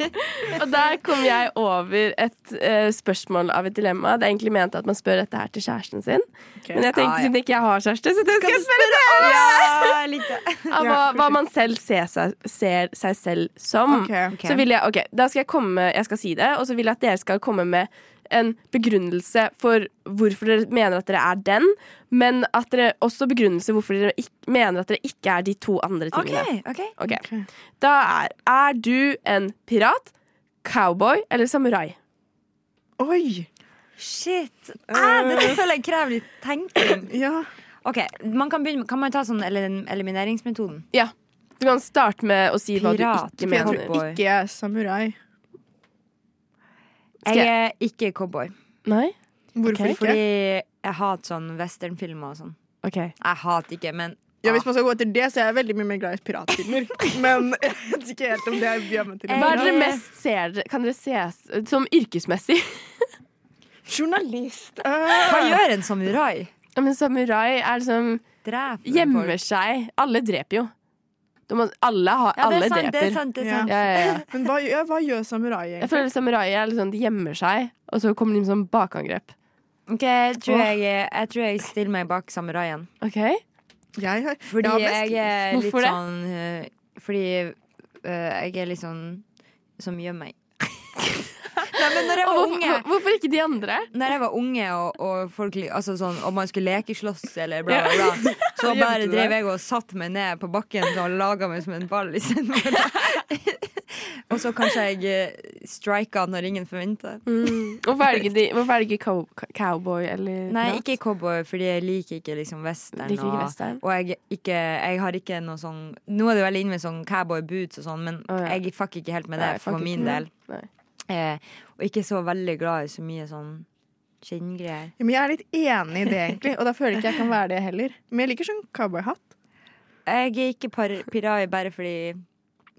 Speaker 3: Og der kom jeg over et eh, spørsmål av et dilemma. Det er egentlig ment at man spør dette her til kjæresten sin.
Speaker 4: Ok.
Speaker 3: Men jeg tenkte
Speaker 4: Ah, ja.
Speaker 3: siden ikke jeg har kjæreste, så det skal jeg spørre
Speaker 4: spørre
Speaker 3: deg!
Speaker 4: oss? Ja, jeg likte det.
Speaker 3: Av hva, hva man selv ser seg, ser seg selv som.
Speaker 4: Ok, ok.
Speaker 3: Så vil jeg, ok, Da skal jeg komme Jeg skal si det, og så vil jeg at dere skal komme med en begrunnelse for hvorfor dere mener at dere er den, men at dere også begrunnelse hvorfor dere ikk- mener at dere ikke er de to andre tingene. Ok. Da er Er du en pirat, cowboy eller samurai?
Speaker 4: Oi!
Speaker 11: Shit. Ah,
Speaker 3: Eh.
Speaker 11: dette føler jeg krever litt tenking. OK, man kan, begynne, kan man ta sånn elim elimineringsmetoden?
Speaker 3: Ja. Du kan starte med å si hva du
Speaker 11: Pirat,
Speaker 3: ikke
Speaker 11: cowboy.
Speaker 3: mener.
Speaker 11: Ikke
Speaker 8: Jeg er samurai.
Speaker 11: Jeg er ikke cowboy.
Speaker 3: Nei?
Speaker 8: Hvorfor ikke?
Speaker 11: Fordi jeg hater sånn westernfilmer og sånn. Jeg hater ikke, men
Speaker 8: Ja, hvis man skal gå etter det, så er jeg veldig mye mer glad i piratfilmer. Men jeg vet ikke helt om det er gjør meg til en
Speaker 3: Hva er
Speaker 8: pirat.
Speaker 3: dere mest ser dere- Kan dere ses som yrkesmessig?
Speaker 8: Journalist.
Speaker 11: Hva gjør en samurai?
Speaker 3: Ja, men samurai er liksom Gjemmer seg. Alle dreper jo. De må, alle har,
Speaker 8: Ja, det er
Speaker 3: alle
Speaker 8: sant,
Speaker 3: dreper.
Speaker 8: det er sant, det er sant.
Speaker 3: Ja, ja, ja.
Speaker 8: Men hva gjør, hva gjør samurai,
Speaker 3: Jeg føler
Speaker 8: egentlig?
Speaker 3: samurai er litt sånn, de gjemmer seg, og så kommer de med sånn bakangrep.
Speaker 11: Ok, jeg tror jeg, jeg, tror jeg stiller meg bak samuraien. Fordi
Speaker 3: Ja, mest-
Speaker 11: jeg er litt
Speaker 3: Hvorfor det?
Speaker 11: sånn eh, Fordi eh, jeg er litt sånn som gjemmer meg. Nei, men når jeg var unge
Speaker 3: Hvorfor ikke de andre?
Speaker 11: Når jeg var unge og, og, folk, li- altså sånn, og man skulle lekeslåss eller bla, bla,
Speaker 3: Ja.
Speaker 11: bla, så
Speaker 3: Så gjemte
Speaker 11: bare
Speaker 3: du
Speaker 11: drev
Speaker 3: deg.
Speaker 11: jeg og satte meg ned på bakken og laga meg som en ball istedenfor. og så kanskje jeg eh, strika når ingen forventer.
Speaker 3: Mm. Hvorfor er det ikke, de, hvorfor er det ikke cow, cowboy eller
Speaker 11: Nei,
Speaker 3: pirat?
Speaker 11: ikke cowboy, fordi jeg liker ikke liksom western.
Speaker 3: Liker ikke
Speaker 11: og-
Speaker 3: western?
Speaker 11: Og jeg, ikke, jeg har ikke noe sånn Nå er det veldig inne med sånn cowboy boots og sånn, men jeg fucker ikke helt med det
Speaker 3: Nei,
Speaker 11: for
Speaker 3: fuck
Speaker 11: min
Speaker 3: ikke.
Speaker 11: del.
Speaker 3: Nei.
Speaker 11: Eh, og ikke så veldig glad i så mye sånn skinngreier.
Speaker 8: Ja, men jeg er litt enig i det, egentlig. Og da føler jeg ikke jeg kan være det heller. Men jeg liker sånn cowboyhatt.
Speaker 11: Jeg er ikke par pirai bare fordi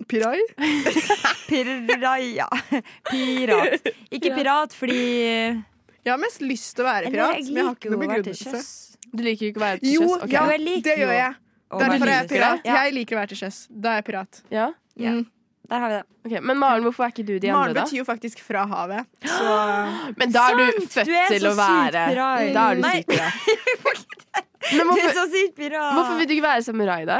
Speaker 8: Pirai?
Speaker 11: Pirai, ja. Pirat. Ikke pirat fordi
Speaker 8: Jeg har mest lyst til å være
Speaker 11: Eller,
Speaker 8: pirat,
Speaker 11: jeg
Speaker 8: men jeg har
Speaker 11: liker
Speaker 8: ikke noe
Speaker 11: jo å være til
Speaker 8: begrunnelse.
Speaker 11: sjøs.
Speaker 3: Du liker ikke å være til
Speaker 8: Jo,
Speaker 3: sjøs? Ok.
Speaker 8: ja,
Speaker 3: Jo, jeg liker
Speaker 8: det gjør
Speaker 3: jo
Speaker 8: jeg.
Speaker 3: å være
Speaker 8: Derfor er jeg
Speaker 3: til sjøs.
Speaker 8: pirat.
Speaker 3: Ja.
Speaker 8: Jeg liker å være til sjøs. Da er jeg pirat.
Speaker 3: Ja?
Speaker 11: Der har vi det.
Speaker 3: men Maren, hvorfor er ikke du de
Speaker 8: Maren
Speaker 3: andre, da?
Speaker 8: betyr jo faktisk fra havet. Så
Speaker 3: Men da er du født til å være Da er du
Speaker 8: Nei.
Speaker 3: sykt pirat. Men
Speaker 11: Du
Speaker 3: hvorfor,
Speaker 11: er så sykt pirat!
Speaker 3: hvorfor vil du ikke være samurai, da?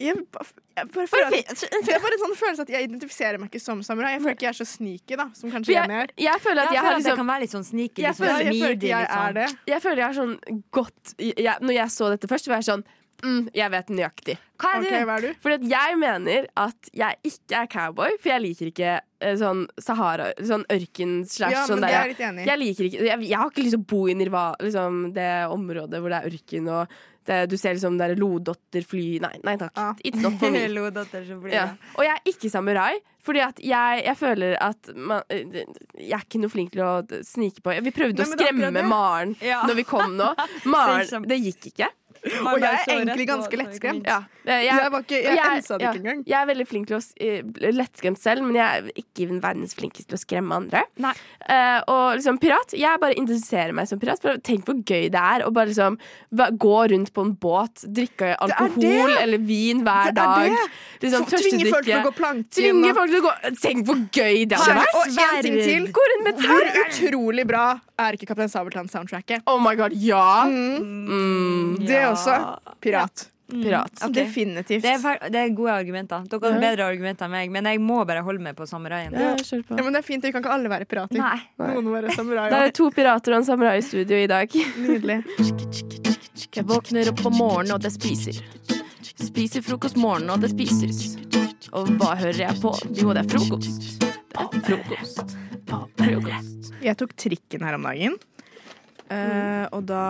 Speaker 8: Jeg, ba- jeg bare føler at, det er bare en sånn følelse at jeg identifiserer meg ikke som samurai. Jeg føler ikke jeg er så sneaky, da, som kanskje
Speaker 3: Jeg-
Speaker 8: Jenny er.
Speaker 3: jeg føler at jeg har liksom-
Speaker 11: sånn sneaky,
Speaker 8: Jeg føler- jeg føler ikke jeg
Speaker 11: liksom.
Speaker 8: er det.
Speaker 3: Jeg føler jeg er sånn godt jeg, Når jeg så dette først, så var jeg sånn mm, Jeg vet nøyaktig.
Speaker 11: Hva er du? Ok, hva
Speaker 8: er du?
Speaker 3: Fordi at jeg mener at jeg ikke er cowboy, for jeg liker ikke eh, sånn Sahara Sånn ørken slash
Speaker 8: Ja, men
Speaker 3: sånn
Speaker 8: det
Speaker 3: der.
Speaker 8: er jeg litt enig i.
Speaker 3: Jeg liker ikke jeg, jeg har ikke lyst til å bo i Nirva, liksom, det området hvor det er ørken og det, du ser liksom der lodotter fly Nei, nei takk. It's not for me.
Speaker 11: Lodatter som blir
Speaker 3: Ja.
Speaker 11: det.
Speaker 3: Og jeg er ikke samurai, fordi at jeg, jeg føler at man, Jeg er ikke noe flink til å d- snike på. Vi prøvde
Speaker 11: Nei, men
Speaker 3: å
Speaker 11: det er akkurat
Speaker 3: skremme
Speaker 11: det.
Speaker 3: Maren
Speaker 11: Ja.
Speaker 3: når vi kom nå.
Speaker 11: Flink
Speaker 3: Maren,
Speaker 11: som-
Speaker 3: det gikk ikke.
Speaker 8: Og jeg er egentlig ganske lettskremt.
Speaker 3: Ja.
Speaker 8: Jeg, jeg, var ikke, jeg, ensa det
Speaker 3: ja,
Speaker 8: ikke engang.
Speaker 3: Jeg er veldig flink til å s- eh, bli lettskremt selv, men jeg er ikke even verdens flinkest til å skremme andre. Eh, og liksom pirat, jeg bare identifiserer meg som pirat. For tenk hvor gøy det er å bare liksom va- gå rundt på en båt, drikke alkohol
Speaker 8: det.
Speaker 3: eller vin
Speaker 8: Det er
Speaker 3: hver dag.
Speaker 8: det.
Speaker 3: Liksom,
Speaker 8: Få- tvinge folk til å
Speaker 3: tørstedrikke.
Speaker 8: gå planken,
Speaker 3: Tvinge
Speaker 8: og-
Speaker 3: folk til å gå Tenk hvor gøy det hadde
Speaker 8: Skjønner.
Speaker 3: vært!
Speaker 8: Og en ting til.
Speaker 3: Gå rundt med
Speaker 8: Hvor
Speaker 3: sverd.
Speaker 8: utrolig bra er ikke Kaptein Sabeltann-soundtracket?
Speaker 3: Oh my god, ja!
Speaker 8: Mm.
Speaker 3: Mm.
Speaker 8: Det er også pirat.
Speaker 3: Pirat.
Speaker 8: Ok. Definitivt.
Speaker 11: Mm. Det er, fa- det er gode argumenter. Dere har
Speaker 8: Ja.
Speaker 11: bedre argumenter enn meg, men jeg må bare holde meg på samuraien.
Speaker 8: Ja, Ja, men det er fint, vi kan ikke alle være pirater.
Speaker 11: Nei.
Speaker 8: Noen må være samurai.
Speaker 3: Det er to pirater og en samurai i studio i dag.
Speaker 8: Nydelig.
Speaker 18: Jeg våkner opp om morgenen, og det spiser. Spiser frokost morgenen, og det spises. Og hva hører jeg på? Jo, det er frokost. Frokost.
Speaker 8: Jeg tok trikken her om dagen.
Speaker 3: Mm.
Speaker 8: Eh, og da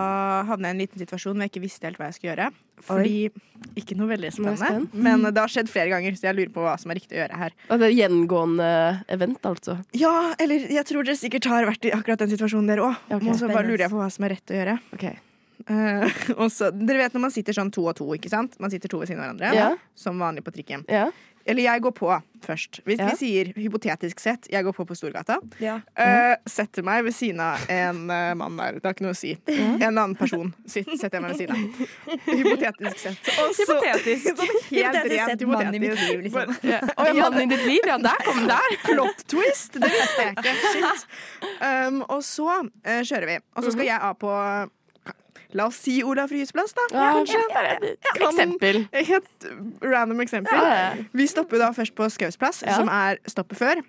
Speaker 8: havnet jeg i en liten situasjon hvor jeg ikke visste helt hva jeg skulle gjøre. Fordi Ikke noe veldig
Speaker 3: Nå er
Speaker 8: spennende,
Speaker 3: jeg spent. Mm.
Speaker 8: men det har skjedd flere ganger, så jeg lurer på hva som er riktig å gjøre her.
Speaker 3: Og det er gjengående event, altså.
Speaker 8: Ja, eller jeg tror dere sikkert har vært i akkurat den situasjonen dere òg. Og så bare lurer jeg på hva som er rett å gjøre. Eh, og så, dere vet når man sitter sånn to og to, ikke sant? Man sitter to ved siden av hverandre,
Speaker 3: Ja.
Speaker 8: som vanlig på trikken.
Speaker 3: Ja.
Speaker 8: Eller jeg går på først. Hvis
Speaker 3: Ja.
Speaker 8: vi sier hypotetisk sett, jeg går på på Storgata.
Speaker 3: Ja.
Speaker 8: eh, setter meg ved siden av en eh, mann der, det har ikke noe å si. En annen person sitt, setter jeg meg ved siden av. Hypotetisk sett. Og så-
Speaker 3: Hypotetisk.
Speaker 8: Sånn helt
Speaker 3: Hypotetisk
Speaker 8: rent
Speaker 3: sett mann i mitt
Speaker 8: hypotetisk.
Speaker 3: liv, liksom.
Speaker 8: Bare-
Speaker 3: Ja. Mannen i ditt liv, ja, der kom den der.
Speaker 8: Plot twist! Det visste jeg ikke. Shit. Um, og så eh, kjører vi. Og
Speaker 3: Mhm.
Speaker 8: så skal jeg av på La oss si Olav Ryes plass, da.
Speaker 3: Ja,
Speaker 8: kanskje.
Speaker 3: ja, ja, ja.
Speaker 8: Kan-
Speaker 3: Eksempel.
Speaker 8: Helt random eksempel.
Speaker 3: Ja, ja, ja.
Speaker 8: Vi stopper da først på Skaus plass,
Speaker 3: Ja.
Speaker 8: som er stoppet før.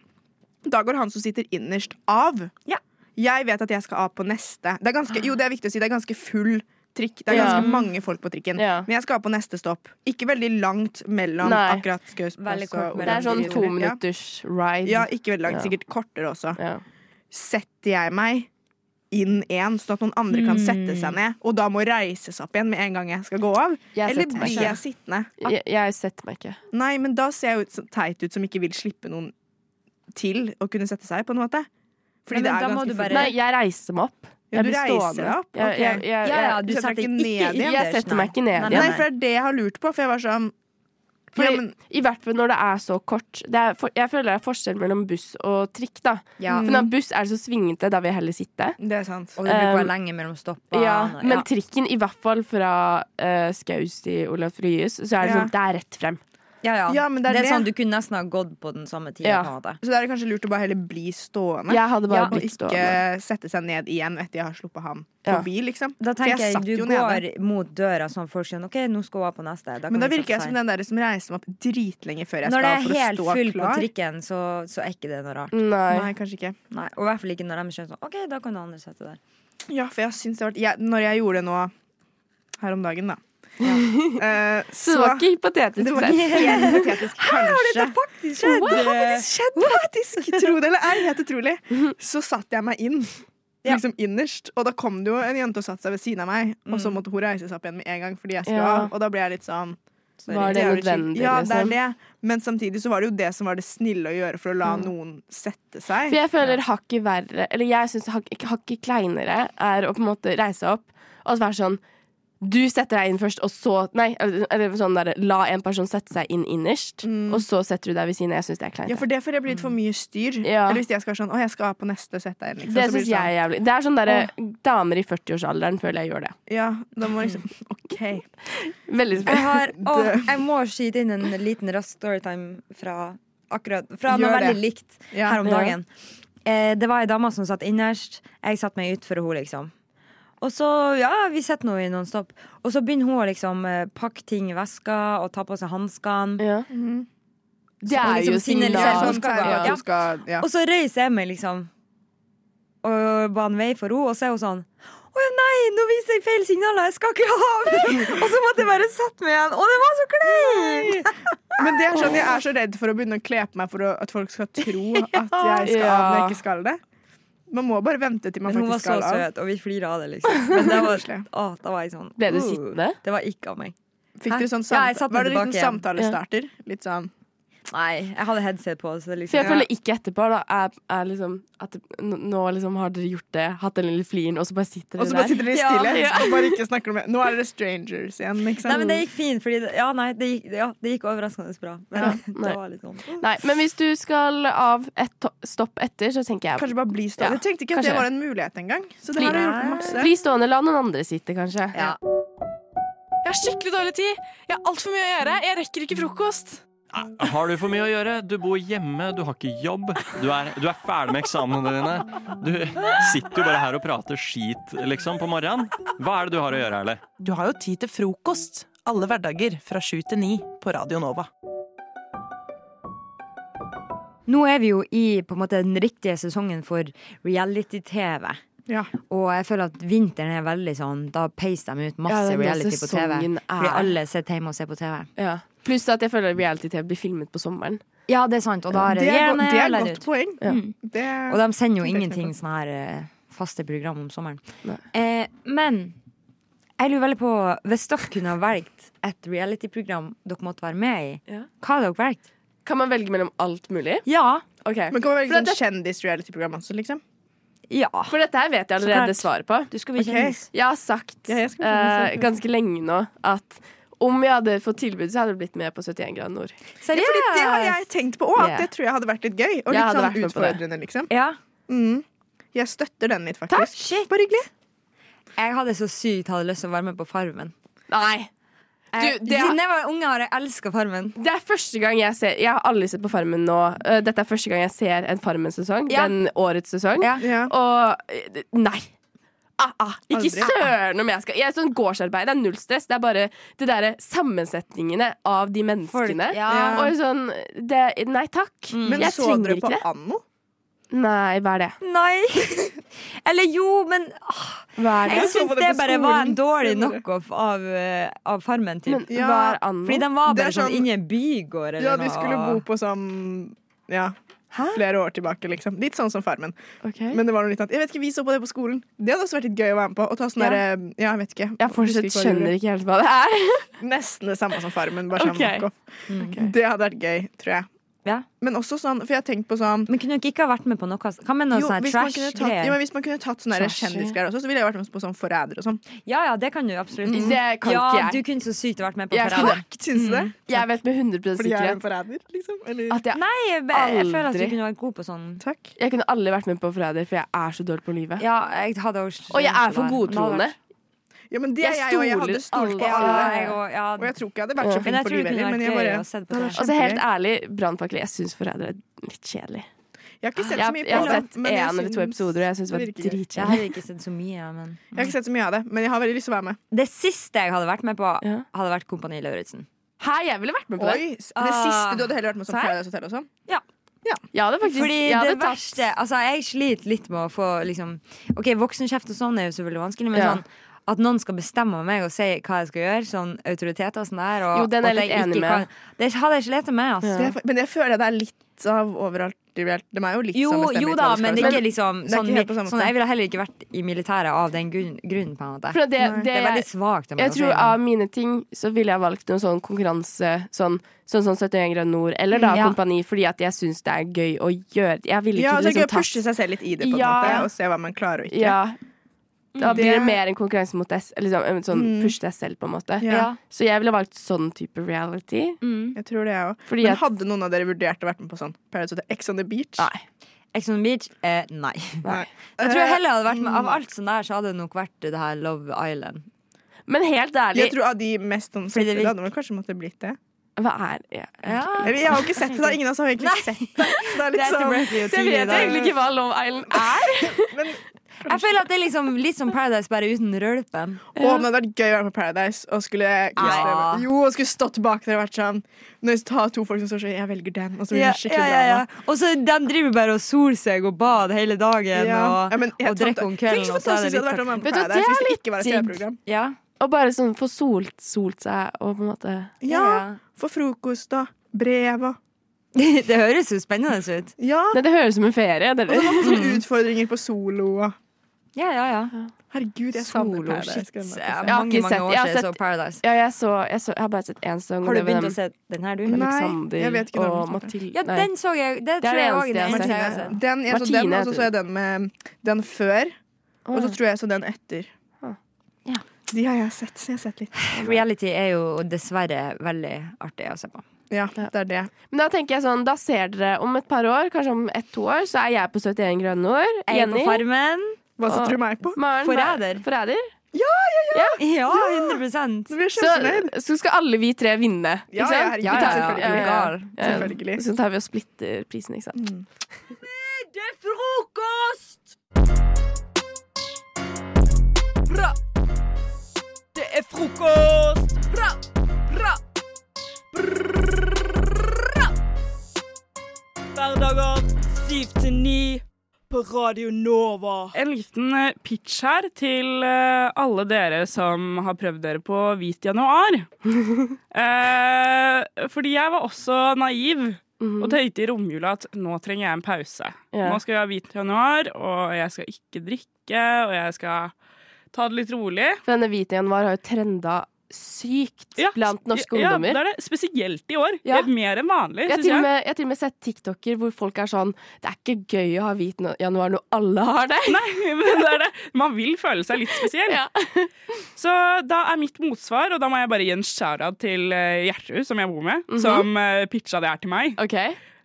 Speaker 8: Da går han som sitter innerst, av. Jeg vet at jeg skal av på neste. Det er ganske, jo, det er viktig å si, det er ganske full trikk. Det er
Speaker 3: Ah. Ja.
Speaker 8: ganske mange folk på trikken. Men jeg skal av på neste stopp. Ikke veldig langt mellom
Speaker 3: Nei.
Speaker 8: akkurat Skaus plass
Speaker 3: Veldig kort
Speaker 8: og
Speaker 3: mellom. Det er sånn
Speaker 8: Olav Ryes.
Speaker 3: to
Speaker 8: Ja.
Speaker 3: minutters ride.
Speaker 8: Ja, ikke veldig langt.
Speaker 3: Ja.
Speaker 8: Sikkert kortere også. Setter jeg meg inn én, sånn at noen andre kan
Speaker 3: Mm.
Speaker 8: sette seg ned, og da må reises opp igjen med en gang jeg skal gå av?
Speaker 3: Jeg
Speaker 8: Eller
Speaker 3: setter meg
Speaker 8: blir
Speaker 3: selv.
Speaker 8: jeg sittende?
Speaker 3: Jeg, jeg setter meg ikke.
Speaker 8: Nei, men da ser jeg ut så teit ut som ikke vil slippe noen til å kunne sette seg, på en måte. Fordi
Speaker 3: Nei, men
Speaker 8: det er
Speaker 3: da må
Speaker 8: ganske
Speaker 3: du bare-
Speaker 8: fullt.
Speaker 3: Nei, jeg reiser meg opp.
Speaker 8: Ja,
Speaker 3: Jeg
Speaker 8: du
Speaker 3: blir
Speaker 8: reiser
Speaker 3: stående.
Speaker 8: deg opp?
Speaker 3: Jeg-
Speaker 8: ok.
Speaker 3: jeg- jeg- Ja, ja, du
Speaker 8: deg
Speaker 3: setter ikke- jeg
Speaker 8: Anders,
Speaker 3: setter meg
Speaker 8: nei.
Speaker 3: ikke ned
Speaker 8: Nei,
Speaker 3: igjen.
Speaker 8: Nei, for det er det jeg har lurt på, for jeg var sånn
Speaker 3: Fordi,
Speaker 8: Ja, men-
Speaker 3: I hvert fall når det er så kort. Det er for, jeg føler det er forskjell mellom buss og trikk. da
Speaker 11: Ja.
Speaker 3: For når buss er det så svingete, da vil jeg heller sitte.
Speaker 8: Det er sant.
Speaker 11: Og det bruker å være
Speaker 3: Um,
Speaker 11: lenge mellom stoppene.
Speaker 3: Ja,
Speaker 11: og-
Speaker 3: men trikken, i hvert fall fra eh, Skaus til Olav Ryes, så er det
Speaker 11: Ja.
Speaker 3: sånn det er rett frem.
Speaker 11: ja, ja.
Speaker 8: Ja, men det er det.
Speaker 11: sånn du kunne nesten ha gått på den samme tida.
Speaker 3: Ja.
Speaker 11: på en måte.
Speaker 8: Så da er det kanskje lurt å bare heller bli stående.
Speaker 3: Jeg hadde bare
Speaker 8: og
Speaker 3: blitt
Speaker 8: ikke
Speaker 3: stående.
Speaker 8: sette seg ned igjen etter jeg har sluppet ham
Speaker 11: Ja.
Speaker 8: forbi, liksom.
Speaker 11: Da
Speaker 8: For
Speaker 11: tenker jeg,
Speaker 8: satt
Speaker 11: du
Speaker 8: jo
Speaker 11: går
Speaker 8: nede.
Speaker 11: mot døra sånn folk skjønner OK, nå skal hun av på neste. kan
Speaker 8: Men da
Speaker 11: vi
Speaker 8: virker jeg
Speaker 11: sette
Speaker 8: som
Speaker 11: seg.
Speaker 8: den der som reiser meg opp dritlenge før jeg skal
Speaker 11: Når det er
Speaker 8: for å
Speaker 11: helt
Speaker 8: stå
Speaker 11: full på
Speaker 8: klar. Mm.
Speaker 11: trikken, så, så er ikke det noe rart.
Speaker 3: Nei.
Speaker 8: Nei, kanskje ikke.
Speaker 11: Nei, og i hvert fall ikke når de skjønner sånn OK, da kan du andre sette der.
Speaker 8: Ja, for jeg syns det har vært jeg, Når jeg gjorde det nå her om dagen, da. eh,
Speaker 3: Så det var ikke hypotetisk
Speaker 8: Det var
Speaker 3: sett.
Speaker 8: ikke helt hypotetisk,
Speaker 3: Her har
Speaker 8: kanskje.
Speaker 3: dette faktisk skjedd.
Speaker 8: Wow, det har faktisk skjedd, faktisk! Tro det eller ei, helt utrolig.
Speaker 3: Mhm.
Speaker 8: Så satte jeg meg inn. Liksom innerst. Og da kom det jo en jente og satte seg ved siden av meg, og så måtte hun reise seg opp igjen med en gang fordi jeg skulle
Speaker 3: Mhm. Ja.
Speaker 8: av. Og da ble jeg litt sånn
Speaker 3: Sorry. Var det
Speaker 8: er jo chill.
Speaker 3: nødvendig,
Speaker 8: Ja, det
Speaker 3: liksom?
Speaker 8: er det. Men samtidig så var det jo det som var det snille å gjøre for å la noen sette seg.
Speaker 3: Mhm. For jeg føler hakket verre, eller jeg syns hakket hakket kleinere er å på en måte reise opp og så være sånn Du setter deg inn først, og så Nei, eller eller sånn derre la en person sette seg inn innerst, og så setter du deg ved siden av. Jeg syns det er kleint.
Speaker 8: Ja, for det føler jeg blir litt for mye styr.
Speaker 3: Mhm. Ja.
Speaker 8: Eller hvis jeg skal være sånn Å, jeg skal av på neste sett der. Liksom.
Speaker 3: det
Speaker 8: så blir
Speaker 3: syns jeg er jævlig. Det er sånn derre damer i 40-årsalderen føler jeg gjør det.
Speaker 8: Ja, da må liksom OK.
Speaker 3: Veldig
Speaker 11: Jeg, har, å,
Speaker 3: Det-
Speaker 11: jeg må skyte inn en liten rask storytime fra, akkurat, fra noe
Speaker 3: Gjør det.
Speaker 11: veldig likt
Speaker 3: Ja.
Speaker 11: her om
Speaker 3: Ja.
Speaker 11: dagen. Eh, det var ei dame som satt innerst. Jeg satte meg ut for henne, liksom. Og så, ja, vi setter nå i nonstop. Og så begynner hun å liksom eh, pakke ting i veska og ta på seg hanskene.
Speaker 3: Det er jo signal. Ja.
Speaker 8: ja.
Speaker 11: Og så røyser jeg meg, liksom. Og baner vei for henne, og så er hun sånn å ja, nei, nå viser jeg feil signaler! Jeg skal ikke av! og så måtte jeg bare sette meg igjen. Og det var så kleint!
Speaker 8: Men det er sånn, jeg er så redd for å begynne å kle på meg for å, at folk skal tro at jeg skal av når jeg ikke skal det. Man må bare vente til man
Speaker 11: Men hun var
Speaker 8: faktisk
Speaker 11: så
Speaker 8: skal av.
Speaker 11: søt, og vi flirer av det, liksom. Men det var, å, da var jeg sånn
Speaker 8: Ble du
Speaker 11: uh,
Speaker 8: sittende?
Speaker 11: Det var ikke av meg.
Speaker 8: Fikk
Speaker 11: Hæ?
Speaker 8: du sånn
Speaker 11: Ja, jeg satte
Speaker 8: samtale, var
Speaker 11: meg
Speaker 8: det litt
Speaker 11: tilbake
Speaker 8: sånn
Speaker 11: igjen.
Speaker 8: samtalestarter? Litt sånn
Speaker 11: Nei, jeg hadde headset på. Så det liksom,
Speaker 3: For jeg føler ikke etterpå da, er, er liksom at det, n- nå liksom har dere gjort det, hatt den lille fliren, og så bare sitter dere
Speaker 8: Og så bare sitter dere stille
Speaker 3: Ja.
Speaker 8: og bare ikke snakker noe mer. Nå er dere strangers igjen, ikke sant?
Speaker 11: Nei, men det gikk fint, fordi det, Ja, nei, det gikk, ja, det gikk overraskende bra. Men det var litt sånn
Speaker 9: Nei, men hvis du skal av et to- stopp etter, så tenker jeg
Speaker 8: Kanskje bare bli stående. Jeg tenkte ikke at det var en mulighet engang. Så det
Speaker 9: Bli-
Speaker 8: her har hjulpet masse.
Speaker 9: Bli stående, la noen andre sitte, kanskje.
Speaker 7: Jeg har skikkelig dårlig tid. Jeg har altfor mye å gjøre. Jeg rekker ikke frokost.
Speaker 19: Har du for mye å gjøre? Du bor hjemme, du har ikke jobb. Du er, du er ferdig med eksamene dine. Du sitter jo bare her og prater skit, liksom, på morgenen. Hva er det du har å gjøre, Erle?
Speaker 20: Du har jo tid til frokost. Alle hverdager fra sju til ni på Radio Nova.
Speaker 11: Nå er vi jo i på en måte, den riktige sesongen for reality-TV.
Speaker 8: Ja.
Speaker 11: Og jeg føler at vinteren er veldig sånn Da peiser de ut
Speaker 9: Ja,
Speaker 11: masse
Speaker 9: den der
Speaker 11: reality på TV.
Speaker 9: sesongen er-
Speaker 11: Fordi alle sitter hjemme og ser på TV.
Speaker 9: Ja. Pluss at jeg føler reality-TV blir filmet på sommeren.
Speaker 11: Ja, det er sant. Og da er
Speaker 9: Det er go-
Speaker 11: gjerne
Speaker 9: det er
Speaker 11: eller
Speaker 9: godt
Speaker 11: ut.
Speaker 8: poeng.
Speaker 11: Mm.
Speaker 8: Det-
Speaker 11: Og de sender jo
Speaker 8: det er
Speaker 11: ingenting sånn her eh, faste program om sommeren. Eh, men jeg lurer veldig på Hvis dere kunne ha valgt et reality-program dere måtte være med i, hva hadde dere valgt?
Speaker 3: Kan man velge mellom alt mulig?
Speaker 11: Ja.
Speaker 8: Men kan man velge
Speaker 3: For
Speaker 8: sånn
Speaker 3: det-
Speaker 8: kjendis-reality-program også, liksom?
Speaker 11: Ja.
Speaker 3: For dette her vet jeg
Speaker 8: Så
Speaker 3: allerede
Speaker 8: klart.
Speaker 3: svaret på.
Speaker 11: Du
Speaker 8: bli Ok. kjendis.
Speaker 3: Eh, Jeg har sagt
Speaker 8: Ja, jeg skal bli kjendis,
Speaker 3: eh,
Speaker 8: ja.
Speaker 3: ganske lenge nå at om jeg hadde fått tilbud, så hadde jeg blitt med på 71 grader nord.
Speaker 8: Ja, fordi det har jeg tenkt på òg.
Speaker 3: Ja.
Speaker 8: Det tror jeg hadde vært litt gøy. Og
Speaker 3: Jeg
Speaker 8: litt
Speaker 3: hadde
Speaker 8: sånn
Speaker 3: vært med på det.
Speaker 8: utfordrende, liksom.
Speaker 11: Ja.
Speaker 8: Mm. Jeg støtter den litt, faktisk.
Speaker 11: Bare hyggelig. Jeg hadde så sykt hadde lyst til å være med på Farmen.
Speaker 3: Nei.
Speaker 11: Jeg-
Speaker 3: det-
Speaker 11: Siden jeg var unge, har jeg elska Farmen.
Speaker 3: Det er første gang jeg ser Jeg har aldri sett på Farmen nå. Eh, Dette er første gang jeg ser en Farmen-sesong.
Speaker 11: Ja.
Speaker 3: Den årets sesong. Og eh, nei. Ah, ah, ikke
Speaker 11: Aldri.
Speaker 3: søren om jeg skal Jeg er sånn Gårdsarbeid det er null stress. Det er bare de der sammensetningene av de menneskene.
Speaker 8: ja.
Speaker 3: Og sånn det, Nei takk.
Speaker 8: Men
Speaker 3: Jeg
Speaker 8: så dere
Speaker 3: trenger
Speaker 8: på
Speaker 3: ikke det.
Speaker 8: Anno?
Speaker 3: Nei, hva er det?
Speaker 11: Nei! Eller jo, men åh,
Speaker 3: Hva er det?
Speaker 11: Jeg
Speaker 3: Jeg så
Speaker 11: syns
Speaker 3: på det
Speaker 11: det
Speaker 3: på
Speaker 11: bare var en
Speaker 3: skolen.
Speaker 11: dårlig
Speaker 3: Jeg gjorde det.
Speaker 11: knockoff av, eh, av Farmen. Typ.
Speaker 3: Men Ja, hva er anno?
Speaker 11: Fordi de var
Speaker 8: det er
Speaker 11: bare sånn,
Speaker 8: sånn-
Speaker 11: inni en bygård eller
Speaker 8: Ja, de
Speaker 11: noe.
Speaker 8: skulle bo på sånn ja. Flere år tilbake, liksom. Litt sånn som Farmen. Men det var noe litt annet. Jeg vet ikke, Vi så på det på skolen. Det hadde også vært litt gøy å være med på. Å ta sånn
Speaker 3: Ja.
Speaker 8: derre Ja, jeg vet ikke.
Speaker 3: Jeg fortsatt
Speaker 8: Husker hva
Speaker 3: skjønner
Speaker 8: jeg
Speaker 3: ikke helt hva det er.
Speaker 8: gjorde. Nesten det samme som Farmen, bare sånn
Speaker 3: Ok.
Speaker 8: knock-off. Det hadde vært gøy, tror jeg. Men også sånn, for jeg har tenkt på sånn
Speaker 11: Men kunne dere ikke ha vært med på noe? Hva med noe
Speaker 8: Jo,
Speaker 11: sånn
Speaker 8: hvis man kunne tatt,
Speaker 11: trash-greier?
Speaker 8: jo, men hvis man kunne tatt sånne der
Speaker 11: Trash, ja.
Speaker 8: kjendisgreier også, så ville jeg vært med på sånn Forræder og sånn.
Speaker 11: Ja, ja, det kan du absolutt.
Speaker 8: Mm. Det kan
Speaker 11: ja,
Speaker 8: ikke jeg.
Speaker 11: Du kunne så sykt vært med på
Speaker 8: Jeg
Speaker 11: Forræder.
Speaker 8: kunne- Syns du det?
Speaker 3: Jeg vet med 100
Speaker 8: Fordi jeg er
Speaker 3: sikkerhet
Speaker 8: en forræder, liksom? Eller?
Speaker 11: Nei, jeg, jeg føler at du kunne vært god på sånn.
Speaker 3: Jeg kunne aldri vært med på Forræder, for jeg er så dårlig på livet.
Speaker 11: Ja, jeg hadde også,
Speaker 3: Og jeg er
Speaker 11: Det
Speaker 3: for
Speaker 11: hadde
Speaker 3: godtroende.
Speaker 11: vært-
Speaker 8: Ja, men det er jeg, og jeg hadde stolt på
Speaker 3: Ja,
Speaker 8: alle.
Speaker 3: jeg
Speaker 11: og,
Speaker 8: jeg tror ikke jeg hadde vært så flink på livet heller, men jeg bare Det hadde vært
Speaker 3: Altså helt
Speaker 8: kjempegøy.
Speaker 3: ærlig, Brannfakkel, jeg syns Forræder er litt kjedelig.
Speaker 8: Jeg har ikke sett
Speaker 3: Jeg-
Speaker 8: så mye på
Speaker 3: Jeg har
Speaker 8: det,
Speaker 3: sett en
Speaker 8: men jeg
Speaker 3: eller to
Speaker 8: syns
Speaker 3: episoder, og jeg syns det var
Speaker 8: det virker gøy.
Speaker 3: dritkjedelig.
Speaker 11: Jeg hadde ikke sett så mye, men
Speaker 8: Jeg har ikke sett så mye av det, men jeg har veldig lyst til å være med.
Speaker 11: Det siste jeg hadde vært med på, hadde vært Kompani Lauritzen.
Speaker 3: Hæ, jeg ville vært med på
Speaker 8: Oi,
Speaker 3: det.
Speaker 8: s- det siste du hadde heller vært med som
Speaker 3: ah. Serr?
Speaker 8: Paradise Hotel og sånn?
Speaker 11: Ja.
Speaker 3: Jeg hadde faktisk
Speaker 11: Fordi
Speaker 3: jeg hadde
Speaker 11: det
Speaker 3: tatt
Speaker 11: verste Altså, jeg sliter litt med å få liksom OK, voksenkjeft og sånn er jo selvfølgelig vanskelig, men
Speaker 3: Ja.
Speaker 11: sånn at noen skal bestemme over meg og si hva jeg skal gjøre, sånn autoritet og sånn der, og
Speaker 3: Jo, den er jeg
Speaker 11: at
Speaker 3: litt
Speaker 11: ikke
Speaker 3: enig med.
Speaker 11: Det hadde jeg slitt med, altså.
Speaker 8: Det er- Men det føler jeg det er litt av overalt. i real- De er jo litt
Speaker 11: Jo,
Speaker 8: som bestemmer
Speaker 11: jo
Speaker 8: litt
Speaker 11: da,
Speaker 8: hva de skal
Speaker 11: men det
Speaker 8: gjøre.
Speaker 11: er ikke liksom
Speaker 8: det er
Speaker 11: sånn,
Speaker 8: ikke helt på samme
Speaker 11: sånn
Speaker 8: måte.
Speaker 11: Jeg ville heller ikke vært i militæret av den grunn, grunnen, på en måte.
Speaker 3: For det, det,
Speaker 11: det er veldig svakt av meg
Speaker 3: Jeg
Speaker 11: å si,
Speaker 3: tror
Speaker 11: men-
Speaker 3: av mine ting så ville jeg valgt noen sånn konkurranse, sånn sånn, sånn 71 grader nord, eller da
Speaker 8: Mm, ja.
Speaker 3: Kompani, fordi at jeg syns det er gøy å gjøre det. Jeg ville ikke
Speaker 8: Ja, så det er gøy
Speaker 3: liksom
Speaker 8: å pushe seg selv litt i det, på en
Speaker 3: Ja.
Speaker 8: måte, og se hva man klarer og ikke.
Speaker 3: Ja. Da
Speaker 8: Mm.
Speaker 3: blir det
Speaker 8: Det-
Speaker 3: mer en konkurranse mot deg, s- liksom, en sånn
Speaker 8: Mm.
Speaker 3: push deg selv, på en måte.
Speaker 8: Ja. Ja. Mm.
Speaker 3: Så jeg ville valgt sånn type reality.
Speaker 8: Jeg tror det, jeg òg.
Speaker 3: Fordi
Speaker 8: Men
Speaker 3: at-
Speaker 8: hadde noen av dere vurdert å vært med på sånn Paradise Hotel? Ex on the Beach?
Speaker 3: Nei.
Speaker 11: Ex on the Beach? Eh, nei. Jeg tror jeg heller hadde vært med
Speaker 3: Mm.
Speaker 11: Av alt sånn der, så hadde det nok vært det her Love Island.
Speaker 3: Men helt ærlig
Speaker 8: Jeg tror av de mest
Speaker 11: Fordi det
Speaker 8: omsatte,
Speaker 11: virker-
Speaker 8: det hadde vel kanskje måtte blitt det.
Speaker 3: Hva er det?
Speaker 8: Eller, jeg har jo ikke sett det, da. Ingen av oss har egentlig sett det. Så det er litt
Speaker 11: Det er
Speaker 8: sånn
Speaker 11: tilbake til Så jeg vet tidlig, da. egentlig ikke
Speaker 3: hva Love Island er.
Speaker 11: Jeg føler at det er liksom, litt som Paradise, bare uten rølpen.
Speaker 8: Å, men det hadde vært gøy å være på Paradise og skulle
Speaker 11: Ja.
Speaker 8: Jo, og skulle stått bak dere og vært sånn Når jeg tar to folk som står sånn Jeg velger den, og så blir
Speaker 11: Ja,
Speaker 8: det skikkelig
Speaker 11: ja, ja, ja.
Speaker 8: drama.
Speaker 11: Og så de driver bare og soler seg og bader hele dagen
Speaker 8: Ja.
Speaker 11: og,
Speaker 8: Ja, men helt
Speaker 11: og drikker
Speaker 8: sant.
Speaker 11: om
Speaker 8: Tenk
Speaker 11: kvelden.
Speaker 8: så
Speaker 11: og så er
Speaker 8: fantastisk det hadde vært å være med på
Speaker 11: Vet du,
Speaker 8: Paradise hvis det
Speaker 11: litt
Speaker 8: ikke var et
Speaker 11: digg.
Speaker 8: TV-program.
Speaker 11: Ja.
Speaker 3: Og bare sånn få solt, solt seg og på en måte
Speaker 8: Ja, for frokost og brev og
Speaker 11: Det, høres jo spennende ut.
Speaker 8: Ja.
Speaker 3: Nei, det høres ut som en ferie. Det,
Speaker 11: Mm.
Speaker 8: Og så var det sånne utfordringer på solo og
Speaker 11: Ja, ja, ja.
Speaker 8: Herregud, jeg savner Paradise.
Speaker 11: Solo-shit.
Speaker 8: Paradise.
Speaker 11: Ja,
Speaker 8: Ja,
Speaker 11: mange,
Speaker 8: ikke
Speaker 11: mange
Speaker 8: sett-
Speaker 11: år
Speaker 8: jeg har
Speaker 11: siden jeg så
Speaker 8: sett-
Speaker 11: Paradise.
Speaker 3: Ja, jeg, så, jeg, så, jeg har bare sett én sang.
Speaker 11: Har du
Speaker 3: det var
Speaker 11: begynt
Speaker 3: den-
Speaker 11: å se den her, du?
Speaker 3: Nei, Alexander
Speaker 8: jeg vet ikke den
Speaker 3: og
Speaker 8: du snakker
Speaker 3: Mathilde.
Speaker 11: Ja, den så jeg. Det,
Speaker 3: er
Speaker 11: tror
Speaker 3: det
Speaker 11: jeg også
Speaker 3: eneste
Speaker 11: den
Speaker 3: jeg har
Speaker 11: eneste jeg har
Speaker 3: sett.
Speaker 11: sett.
Speaker 8: Den, jeg så
Speaker 3: Martine
Speaker 8: den, og så
Speaker 3: heter
Speaker 8: så jeg den med den før. Og så tror jeg jeg så den etter. De har jeg sett, så jeg har sett litt.
Speaker 11: Reality er jo dessverre veldig artig å se på.
Speaker 8: Ja, det er det.
Speaker 3: Men da tenker jeg sånn, da ser dere om et par år, kanskje om ett-to år, så er jeg på 71 grønne nord.
Speaker 11: Jeg er på Farmen.
Speaker 8: Hva setter du meg på?
Speaker 3: Maren,
Speaker 11: Forræder.
Speaker 3: hva- Forræder?
Speaker 8: Ja, ja,
Speaker 3: ja!
Speaker 11: Ja, 100
Speaker 8: blir jeg
Speaker 3: så, så skal alle vi tre vinne,
Speaker 11: Ja,
Speaker 3: ikke
Speaker 11: ja,
Speaker 3: sant?
Speaker 11: herregud, selvfølgelig. Gal.
Speaker 8: Selvfølgelig.
Speaker 3: Så tar vi og splitter prisen, ikke sant?
Speaker 10: Det er frokost!
Speaker 6: Bra. Det er frokost! Bra, bra. Bra. Hverdager 7 til 9 på Radio Nova.
Speaker 2: En liten eh, pitch her til eh, alle dere som har prøvd dere på hvit januar. eh, fordi jeg var også naiv
Speaker 3: Mhm.
Speaker 2: og tenkte i romjula at nå trenger jeg en pause.
Speaker 7: Ja.
Speaker 2: Nå skal jeg ha hvit januar, og jeg skal ikke drikke, og jeg skal ta det litt rolig.
Speaker 3: For denne hvite januar har jo trenda sykt blant norske
Speaker 2: ja,
Speaker 3: ungdommer.
Speaker 2: det er det. Spesielt i år.
Speaker 3: Ja.
Speaker 2: Det er Mer enn vanlig,
Speaker 3: Jeg har
Speaker 2: syns
Speaker 3: til og
Speaker 2: jeg.
Speaker 3: med, jeg har til og med sett TikToker hvor folk er sånn Det er ikke gøy å ha hvit no- januar når alle har det.
Speaker 2: Nei, men det er det. Man vil føle seg litt spesiell. Så da er mitt motsvar, og da må jeg bare gi en shout-out til eh, Gjertrud, som jeg bor med,
Speaker 3: Mhm.
Speaker 2: som eh, pitcha det her til meg.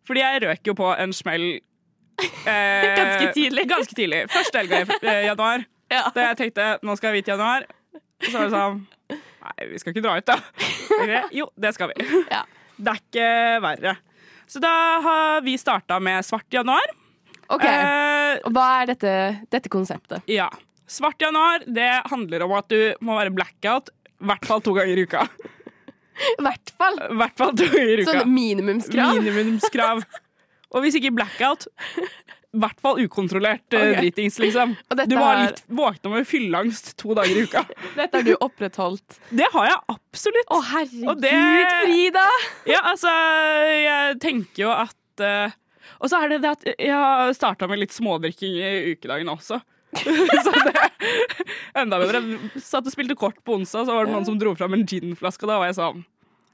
Speaker 2: Fordi jeg røk jo på en smell eh,
Speaker 3: Ganske tidlig.
Speaker 2: Ganske tidlig. Første helga i eh, januar. Da jeg tenkte nå skal jeg hvit januar. Så var det sånn Nei, vi skal ikke dra ut, da. Ok, Jo, det skal vi. Det er ikke verre. Så da har vi starta med svart januar.
Speaker 3: Ok. Og hva er dette, dette konseptet?
Speaker 2: Eh, Ja. Svart januar det handler om at du må være blackout i hvert fall to ganger i uka.
Speaker 3: I hvert fall.
Speaker 2: hvert fall to ganger i uka.
Speaker 3: Sånn minimumskrav?
Speaker 2: Minimumskrav. Og hvis ikke blackout, i hvert fall ukontrollert eh,
Speaker 3: Ok.
Speaker 2: dritings, liksom.
Speaker 3: Og dette
Speaker 2: Du var
Speaker 3: har-
Speaker 2: litt våkna med fylleangst to dager i uka.
Speaker 3: Dette har du opprettholdt.
Speaker 2: Det har jeg absolutt.
Speaker 3: Å, herregud,
Speaker 2: Og det-
Speaker 3: Frida!
Speaker 2: Ja, altså, jeg tenker jo at eh, Og så er det det at jeg har starta med litt smådrikking i ukedagene også. så det Enda bedre. Satt og spilte kort på onsdag, så var det noen som dro fram en ginflaske, og da var jeg sånn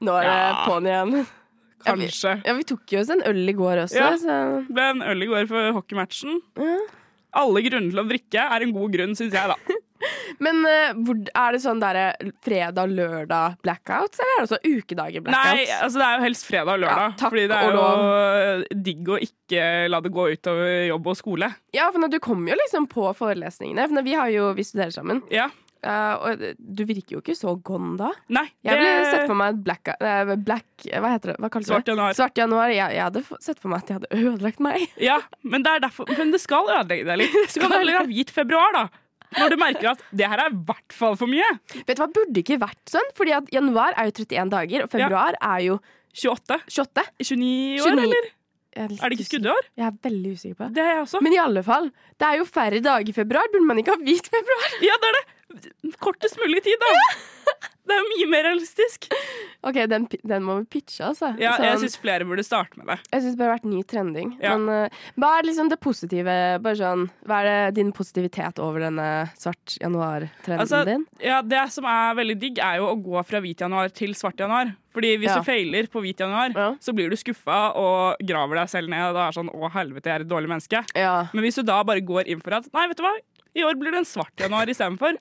Speaker 3: Nå er det
Speaker 2: Ja.
Speaker 3: på'n igjen.
Speaker 2: Kanskje.
Speaker 3: Ja, vi tok jo oss en øl i går også.
Speaker 2: Ja,
Speaker 3: Så.
Speaker 2: ble en øl i går for hockeymatchen. Alle grunner til å drikke er en god grunn, syns jeg, da.
Speaker 3: Men eh, hvor, er det sånn derre fredag-lørdag-blackouts, eller er det også ukedager-blackouts?
Speaker 2: Nei, altså det er jo helst fredag og lørdag.
Speaker 3: Ja, takk
Speaker 2: fordi det
Speaker 3: og
Speaker 2: er jo digg å ikke la det gå utover jobb og skole.
Speaker 3: Ja, for når du kommer jo liksom på forelesningene. For når vi, har jo, vi studerer sammen. Eh, og du virker jo ikke så gone da.
Speaker 2: Nei,
Speaker 3: Jeg ville
Speaker 2: det-
Speaker 3: sett for meg et black, eh, black Hva heter det? Hva kalles
Speaker 2: Svart
Speaker 3: det?
Speaker 2: januar.
Speaker 3: Svart januar. Jeg, jeg hadde f- sett for meg at jeg hadde ødelagt meg.
Speaker 2: Ja, men det, er derfor, men det skal ødelegge deg litt. Så kan du heller ha hvit februar, da. Når du merker at det her er i hvert fall for mye.
Speaker 3: Vet du hva, burde ikke vært sånn? Fordi at januar er jo 31 dager, og februar er jo
Speaker 2: 28. 29
Speaker 3: i
Speaker 2: år, eller?
Speaker 3: Er
Speaker 2: det ikke skuddår?
Speaker 3: Jeg er veldig usikker på det.
Speaker 2: Det er jeg også.
Speaker 3: Men i alle fall, det er jo færre dager i februar. Burde man ikke ha hvit februar?
Speaker 2: Ja, det er det! Kortest mulig tid, da. Det er jo mye mer realistisk.
Speaker 3: OK, den, pi- den må vi pitche, altså.
Speaker 2: Ja, jeg
Speaker 3: Sånn-
Speaker 2: syns flere burde starte med det.
Speaker 3: Jeg syns det burde vært ny trending.
Speaker 2: Ja.
Speaker 3: Men eh, hva er liksom det positive? Bare sånn, hva er det din positivitet over denne svart januar-trenden
Speaker 2: Altså,
Speaker 3: din?
Speaker 2: ja, det som er veldig digg, er jo å gå fra hvit januar til svart januar. Fordi hvis
Speaker 3: Ja.
Speaker 2: du feiler på hvit januar, så blir du skuffa og graver deg selv ned. Og da er det sånn 'Å, helvete, jeg er et dårlig menneske'. Men hvis du da bare går inn for at 'Nei, vet du hva, i år blir det en svart januar istedenfor',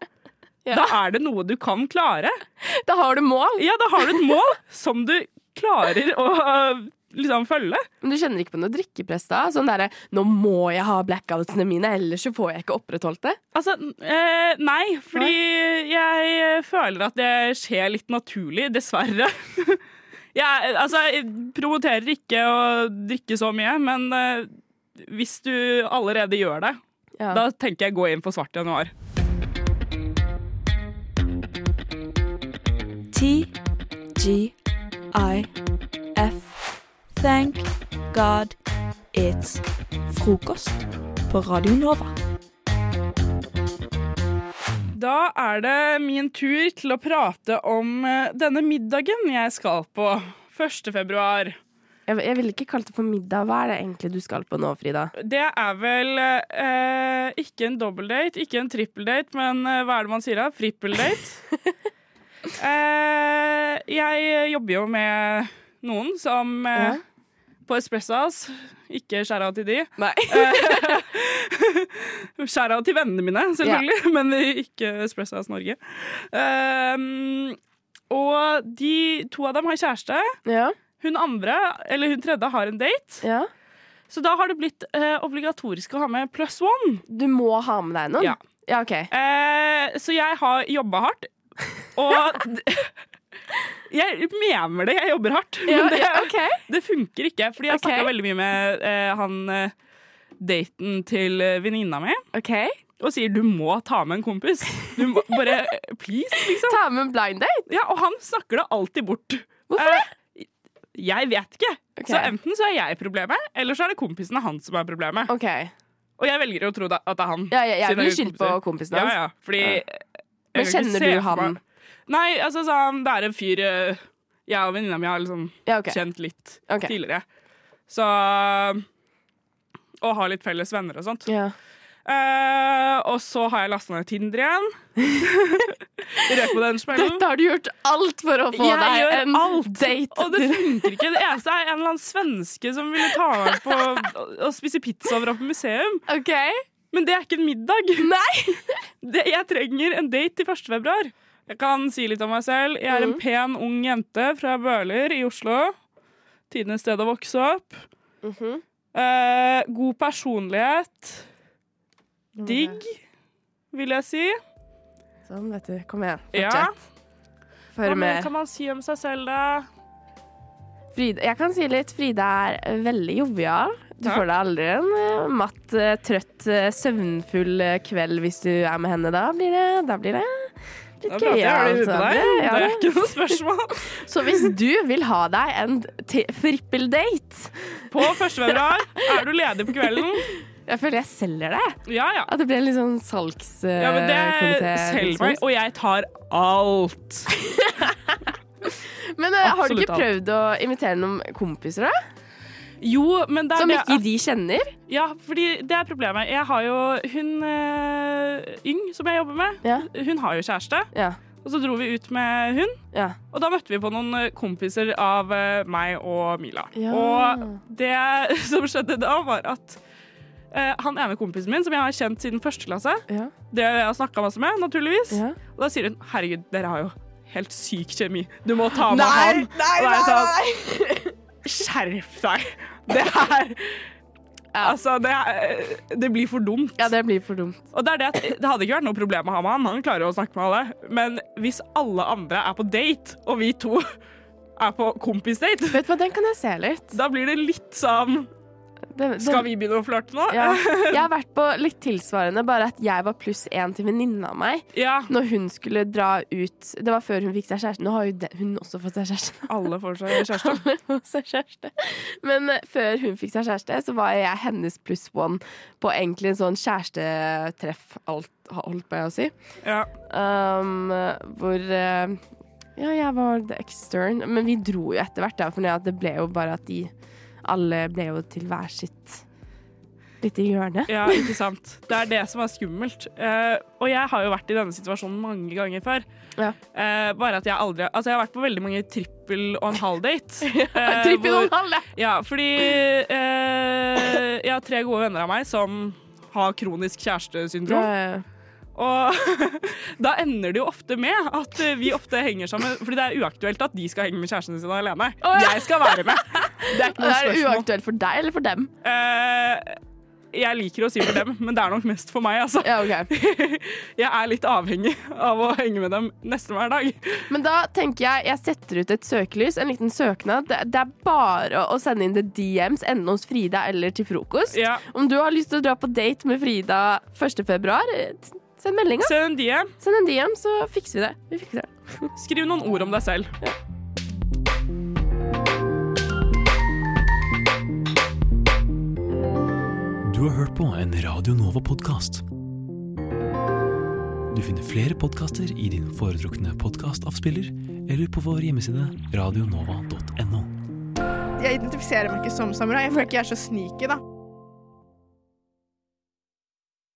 Speaker 2: da er det noe du kan klare.
Speaker 3: Da har du mål.
Speaker 2: Ja, da har du et mål som du klarer å øh, liksom følge.
Speaker 3: Men du kjenner ikke på noe drikkepress da? Sånn derre 'nå må jeg ha blackoutene mine, ellers så får jeg ikke opprettholdt det'?
Speaker 2: Altså, eh, nei, fordi jeg føler at det skjer litt naturlig, dessverre. jeg, altså, jeg promoterer ikke å drikke så mye, men eh, hvis du allerede gjør det,
Speaker 3: Ja.
Speaker 2: da tenker jeg gå inn for svart januar.
Speaker 4: TGIF. Thank God it's frokost på Radio Nova.
Speaker 2: Da er det min tur til å prate om eh, denne middagen jeg skal på 1. februar.
Speaker 3: Jeg, jeg ville ikke kalt det for middag. Hva er det egentlig du skal på nå, Frida?
Speaker 2: Det er vel eh, ikke en dobbeldate, ikke en trippeldate, men eh, hva er det man sier da? Frippeldate. eh, jeg jobber jo med noen som eh, På Espresso House. Ikke skjæra til de.
Speaker 3: Nei.
Speaker 2: skjæra til vennene mine, selvfølgelig, men ikke Espresso House Norge. Eh, og de to av dem har kjæreste. Hun andre, eller hun tredje, har en date. Så da har det blitt eh, obligatorisk å ha med plus one.
Speaker 3: Du må ha med deg noen?
Speaker 2: Ja.
Speaker 3: ok.
Speaker 2: Eh, så jeg har jobba hardt, og d- Jeg mener det, jeg jobber hardt, men
Speaker 3: Ja,
Speaker 2: det,
Speaker 3: ja, ok.
Speaker 2: det funker ikke. Fordi jeg har
Speaker 3: Ok.
Speaker 2: snakka veldig mye med eh, han eh, daten til eh, venninna mi. Og sier 'du må ta med en kompis'. Du må bare Please, liksom.
Speaker 3: Ta med en blind date?
Speaker 2: Ja, og han snakker det alltid bort. Hvorfor det? jeg vet ikke. Så enten så er jeg problemet, eller så er det kompisene hans som er problemet. Og jeg velger jo å tro da- at det er han.
Speaker 3: Ja, ja, jeg
Speaker 2: siden
Speaker 3: blir
Speaker 2: er
Speaker 3: skyldt på
Speaker 2: kompiser.
Speaker 3: kompisene hans.
Speaker 2: Ja, ja, fordi
Speaker 3: Ja. Men
Speaker 2: jeg kan ikke
Speaker 3: kjenner
Speaker 2: se
Speaker 3: du
Speaker 2: for meg-
Speaker 3: han?
Speaker 2: Nei, altså sånn, det er en fyr eh, jeg og venninna mi har liksom
Speaker 3: Ja, ok.
Speaker 2: kjent litt
Speaker 3: Ok.
Speaker 2: tidligere. Så Og har litt felles venner og sånt. Eh, og så har jeg lasta ned Tinder igjen. Røk på den smellen.
Speaker 3: Dette har du gjort alt for å få
Speaker 2: Jeg
Speaker 3: deg
Speaker 2: gjør
Speaker 3: en
Speaker 2: alt,
Speaker 3: date.
Speaker 2: Og det funker ikke. Det eneste er en eller annen svenske som ville ta meg på å- å spise pizza og dra på museum. Men det er ikke en middag. Det, jeg trenger en date til 1. februar. Jeg kan si litt om meg selv. Jeg
Speaker 3: Mm.
Speaker 2: er en pen, ung jente fra Bøler i Oslo. Tidenes sted å vokse opp.
Speaker 3: Mhm.
Speaker 2: Eh, god personlighet. Digg, vil jeg si.
Speaker 3: Sånn, vet du. Kom igjen.
Speaker 2: Ja.
Speaker 3: Fortsett. Hør
Speaker 2: Hva mer
Speaker 3: med.
Speaker 2: kan man si om seg selv, da?
Speaker 3: Frida, jeg kan si litt. Frida er eh, veldig jovial. Du får deg aldri en eh, matt, eh, trøtt, eh, søvnfull eh, kveld hvis du er med henne. Da blir det, da blir det
Speaker 2: Da
Speaker 3: litt
Speaker 2: prater jeg
Speaker 3: gøyalt.
Speaker 2: jævlig ut på
Speaker 3: da
Speaker 2: deg.
Speaker 3: blir ja,
Speaker 2: Det er ikke noe spørsmål.
Speaker 3: Så hvis du vil ha deg en t- frippeldate
Speaker 2: På 1. februar er du ledig på kvelden.
Speaker 3: Jeg føler jeg selger det.
Speaker 2: Ja, ja.
Speaker 3: At det blir en litt sånn salgs...
Speaker 2: Ja, men det
Speaker 3: komité,
Speaker 2: selger
Speaker 3: liksom.
Speaker 2: meg, og jeg tar alt.
Speaker 3: Men eh, har du
Speaker 2: Absolutt
Speaker 3: ikke prøvd å invitere noen kompiser, da?
Speaker 2: Jo, men det er
Speaker 3: Som
Speaker 2: det
Speaker 3: ikke
Speaker 2: at-
Speaker 3: de kjenner?
Speaker 2: Ja, fordi det er problemet. Jeg har jo hun eh, Yng, som jeg jobber med, hun har jo kjæreste. Og så dro vi ut med hun, og da møtte vi på noen eh, kompiser av eh, meg og Mila.
Speaker 3: Ja.
Speaker 2: Og det som skjedde da, var at eh, han ene kompisen min, som jeg har kjent siden første klasse, det har jeg snakka masse med, naturligvis, og da sier hun 'herregud, dere har jo helt syk kjemi, du må ta med
Speaker 10: Nei,
Speaker 2: han'.
Speaker 10: nei,
Speaker 2: Og da er jeg sånn,
Speaker 10: nei,
Speaker 2: Skjerp deg! Det er Altså, det, er, det blir for dumt.
Speaker 3: Ja, det blir for dumt.
Speaker 2: Og det, er det, at det hadde ikke vært noe problem å ha med han, han klarer jo å snakke med alle. Men hvis alle andre er på date, og vi to er på kompisdate
Speaker 3: Vet du hva, den kan jeg se litt.
Speaker 2: Da blir det litt sånn Skal vi begynne å flørte nå?
Speaker 3: Ja. Jeg har vært på litt tilsvarende, bare at jeg var pluss én til venninna av meg. Når hun skulle dra ut Det var før hun fikk seg kjæreste. Nå har jo den- hun også fått seg kjæreste.
Speaker 2: Alle får seg kjæreste.
Speaker 3: Alle får seg kjæreste. Men eh, før hun fikk seg kjæreste, så var jeg hennes pluss one på egentlig en sånn kjærestetreff, alt, holdt på jeg å si.
Speaker 2: Ja.
Speaker 3: Um, hvor eh, Ja, jeg var the extern. Men vi dro jo etter hvert, da, for det ble jo bare at de alle ble jo til hver sitt lite hjørne.
Speaker 2: Ja, ikke sant. Det er det som er skummelt. Eh, og jeg har jo vært i denne situasjonen mange ganger før. Eh, bare at jeg aldri Altså, jeg har vært på veldig mange trippel og en halv date. Eh,
Speaker 3: trippel og en
Speaker 2: hvor-
Speaker 3: halv, ja.
Speaker 2: Ja, fordi eh, jeg har tre gode venner av meg som har kronisk kjærestesyndrom.
Speaker 3: Eh,
Speaker 2: Og da ender det jo ofte med at eh, vi ofte henger sammen Fordi det er uaktuelt at de skal henge med kjærestene sine alene. Jeg skal være med. Det er ikke
Speaker 3: Er
Speaker 2: noe
Speaker 3: det
Speaker 2: spørsmål.
Speaker 3: uaktuelt for deg eller for dem?
Speaker 2: Eh, jeg liker å si for dem, men det er nok mest for meg, altså. jeg er litt avhengig av å henge med dem nesten hver dag.
Speaker 3: Men da tenker jeg jeg setter ut et søkelys, en liten søknad. Det, det er bare å sende inn the DMs, enten hos Frida eller til frokost.
Speaker 2: Ja.
Speaker 3: Om du har lyst til å dra på date med Frida 1. februar, eh, send melding. da.
Speaker 2: Send en DM.
Speaker 3: Send en DM, så fikser vi det. Vi fikser det.
Speaker 2: Skriv noen ord om deg selv.
Speaker 21: Du har hørt på en Radio Nova-podkast. Du finner flere podkaster i din foretrukne podkastavspiller eller på vår hjemmeside radionova.no.
Speaker 8: jeg identifiserer meg ikke som samurai. Jeg føler ikke jeg er så sneaky, da.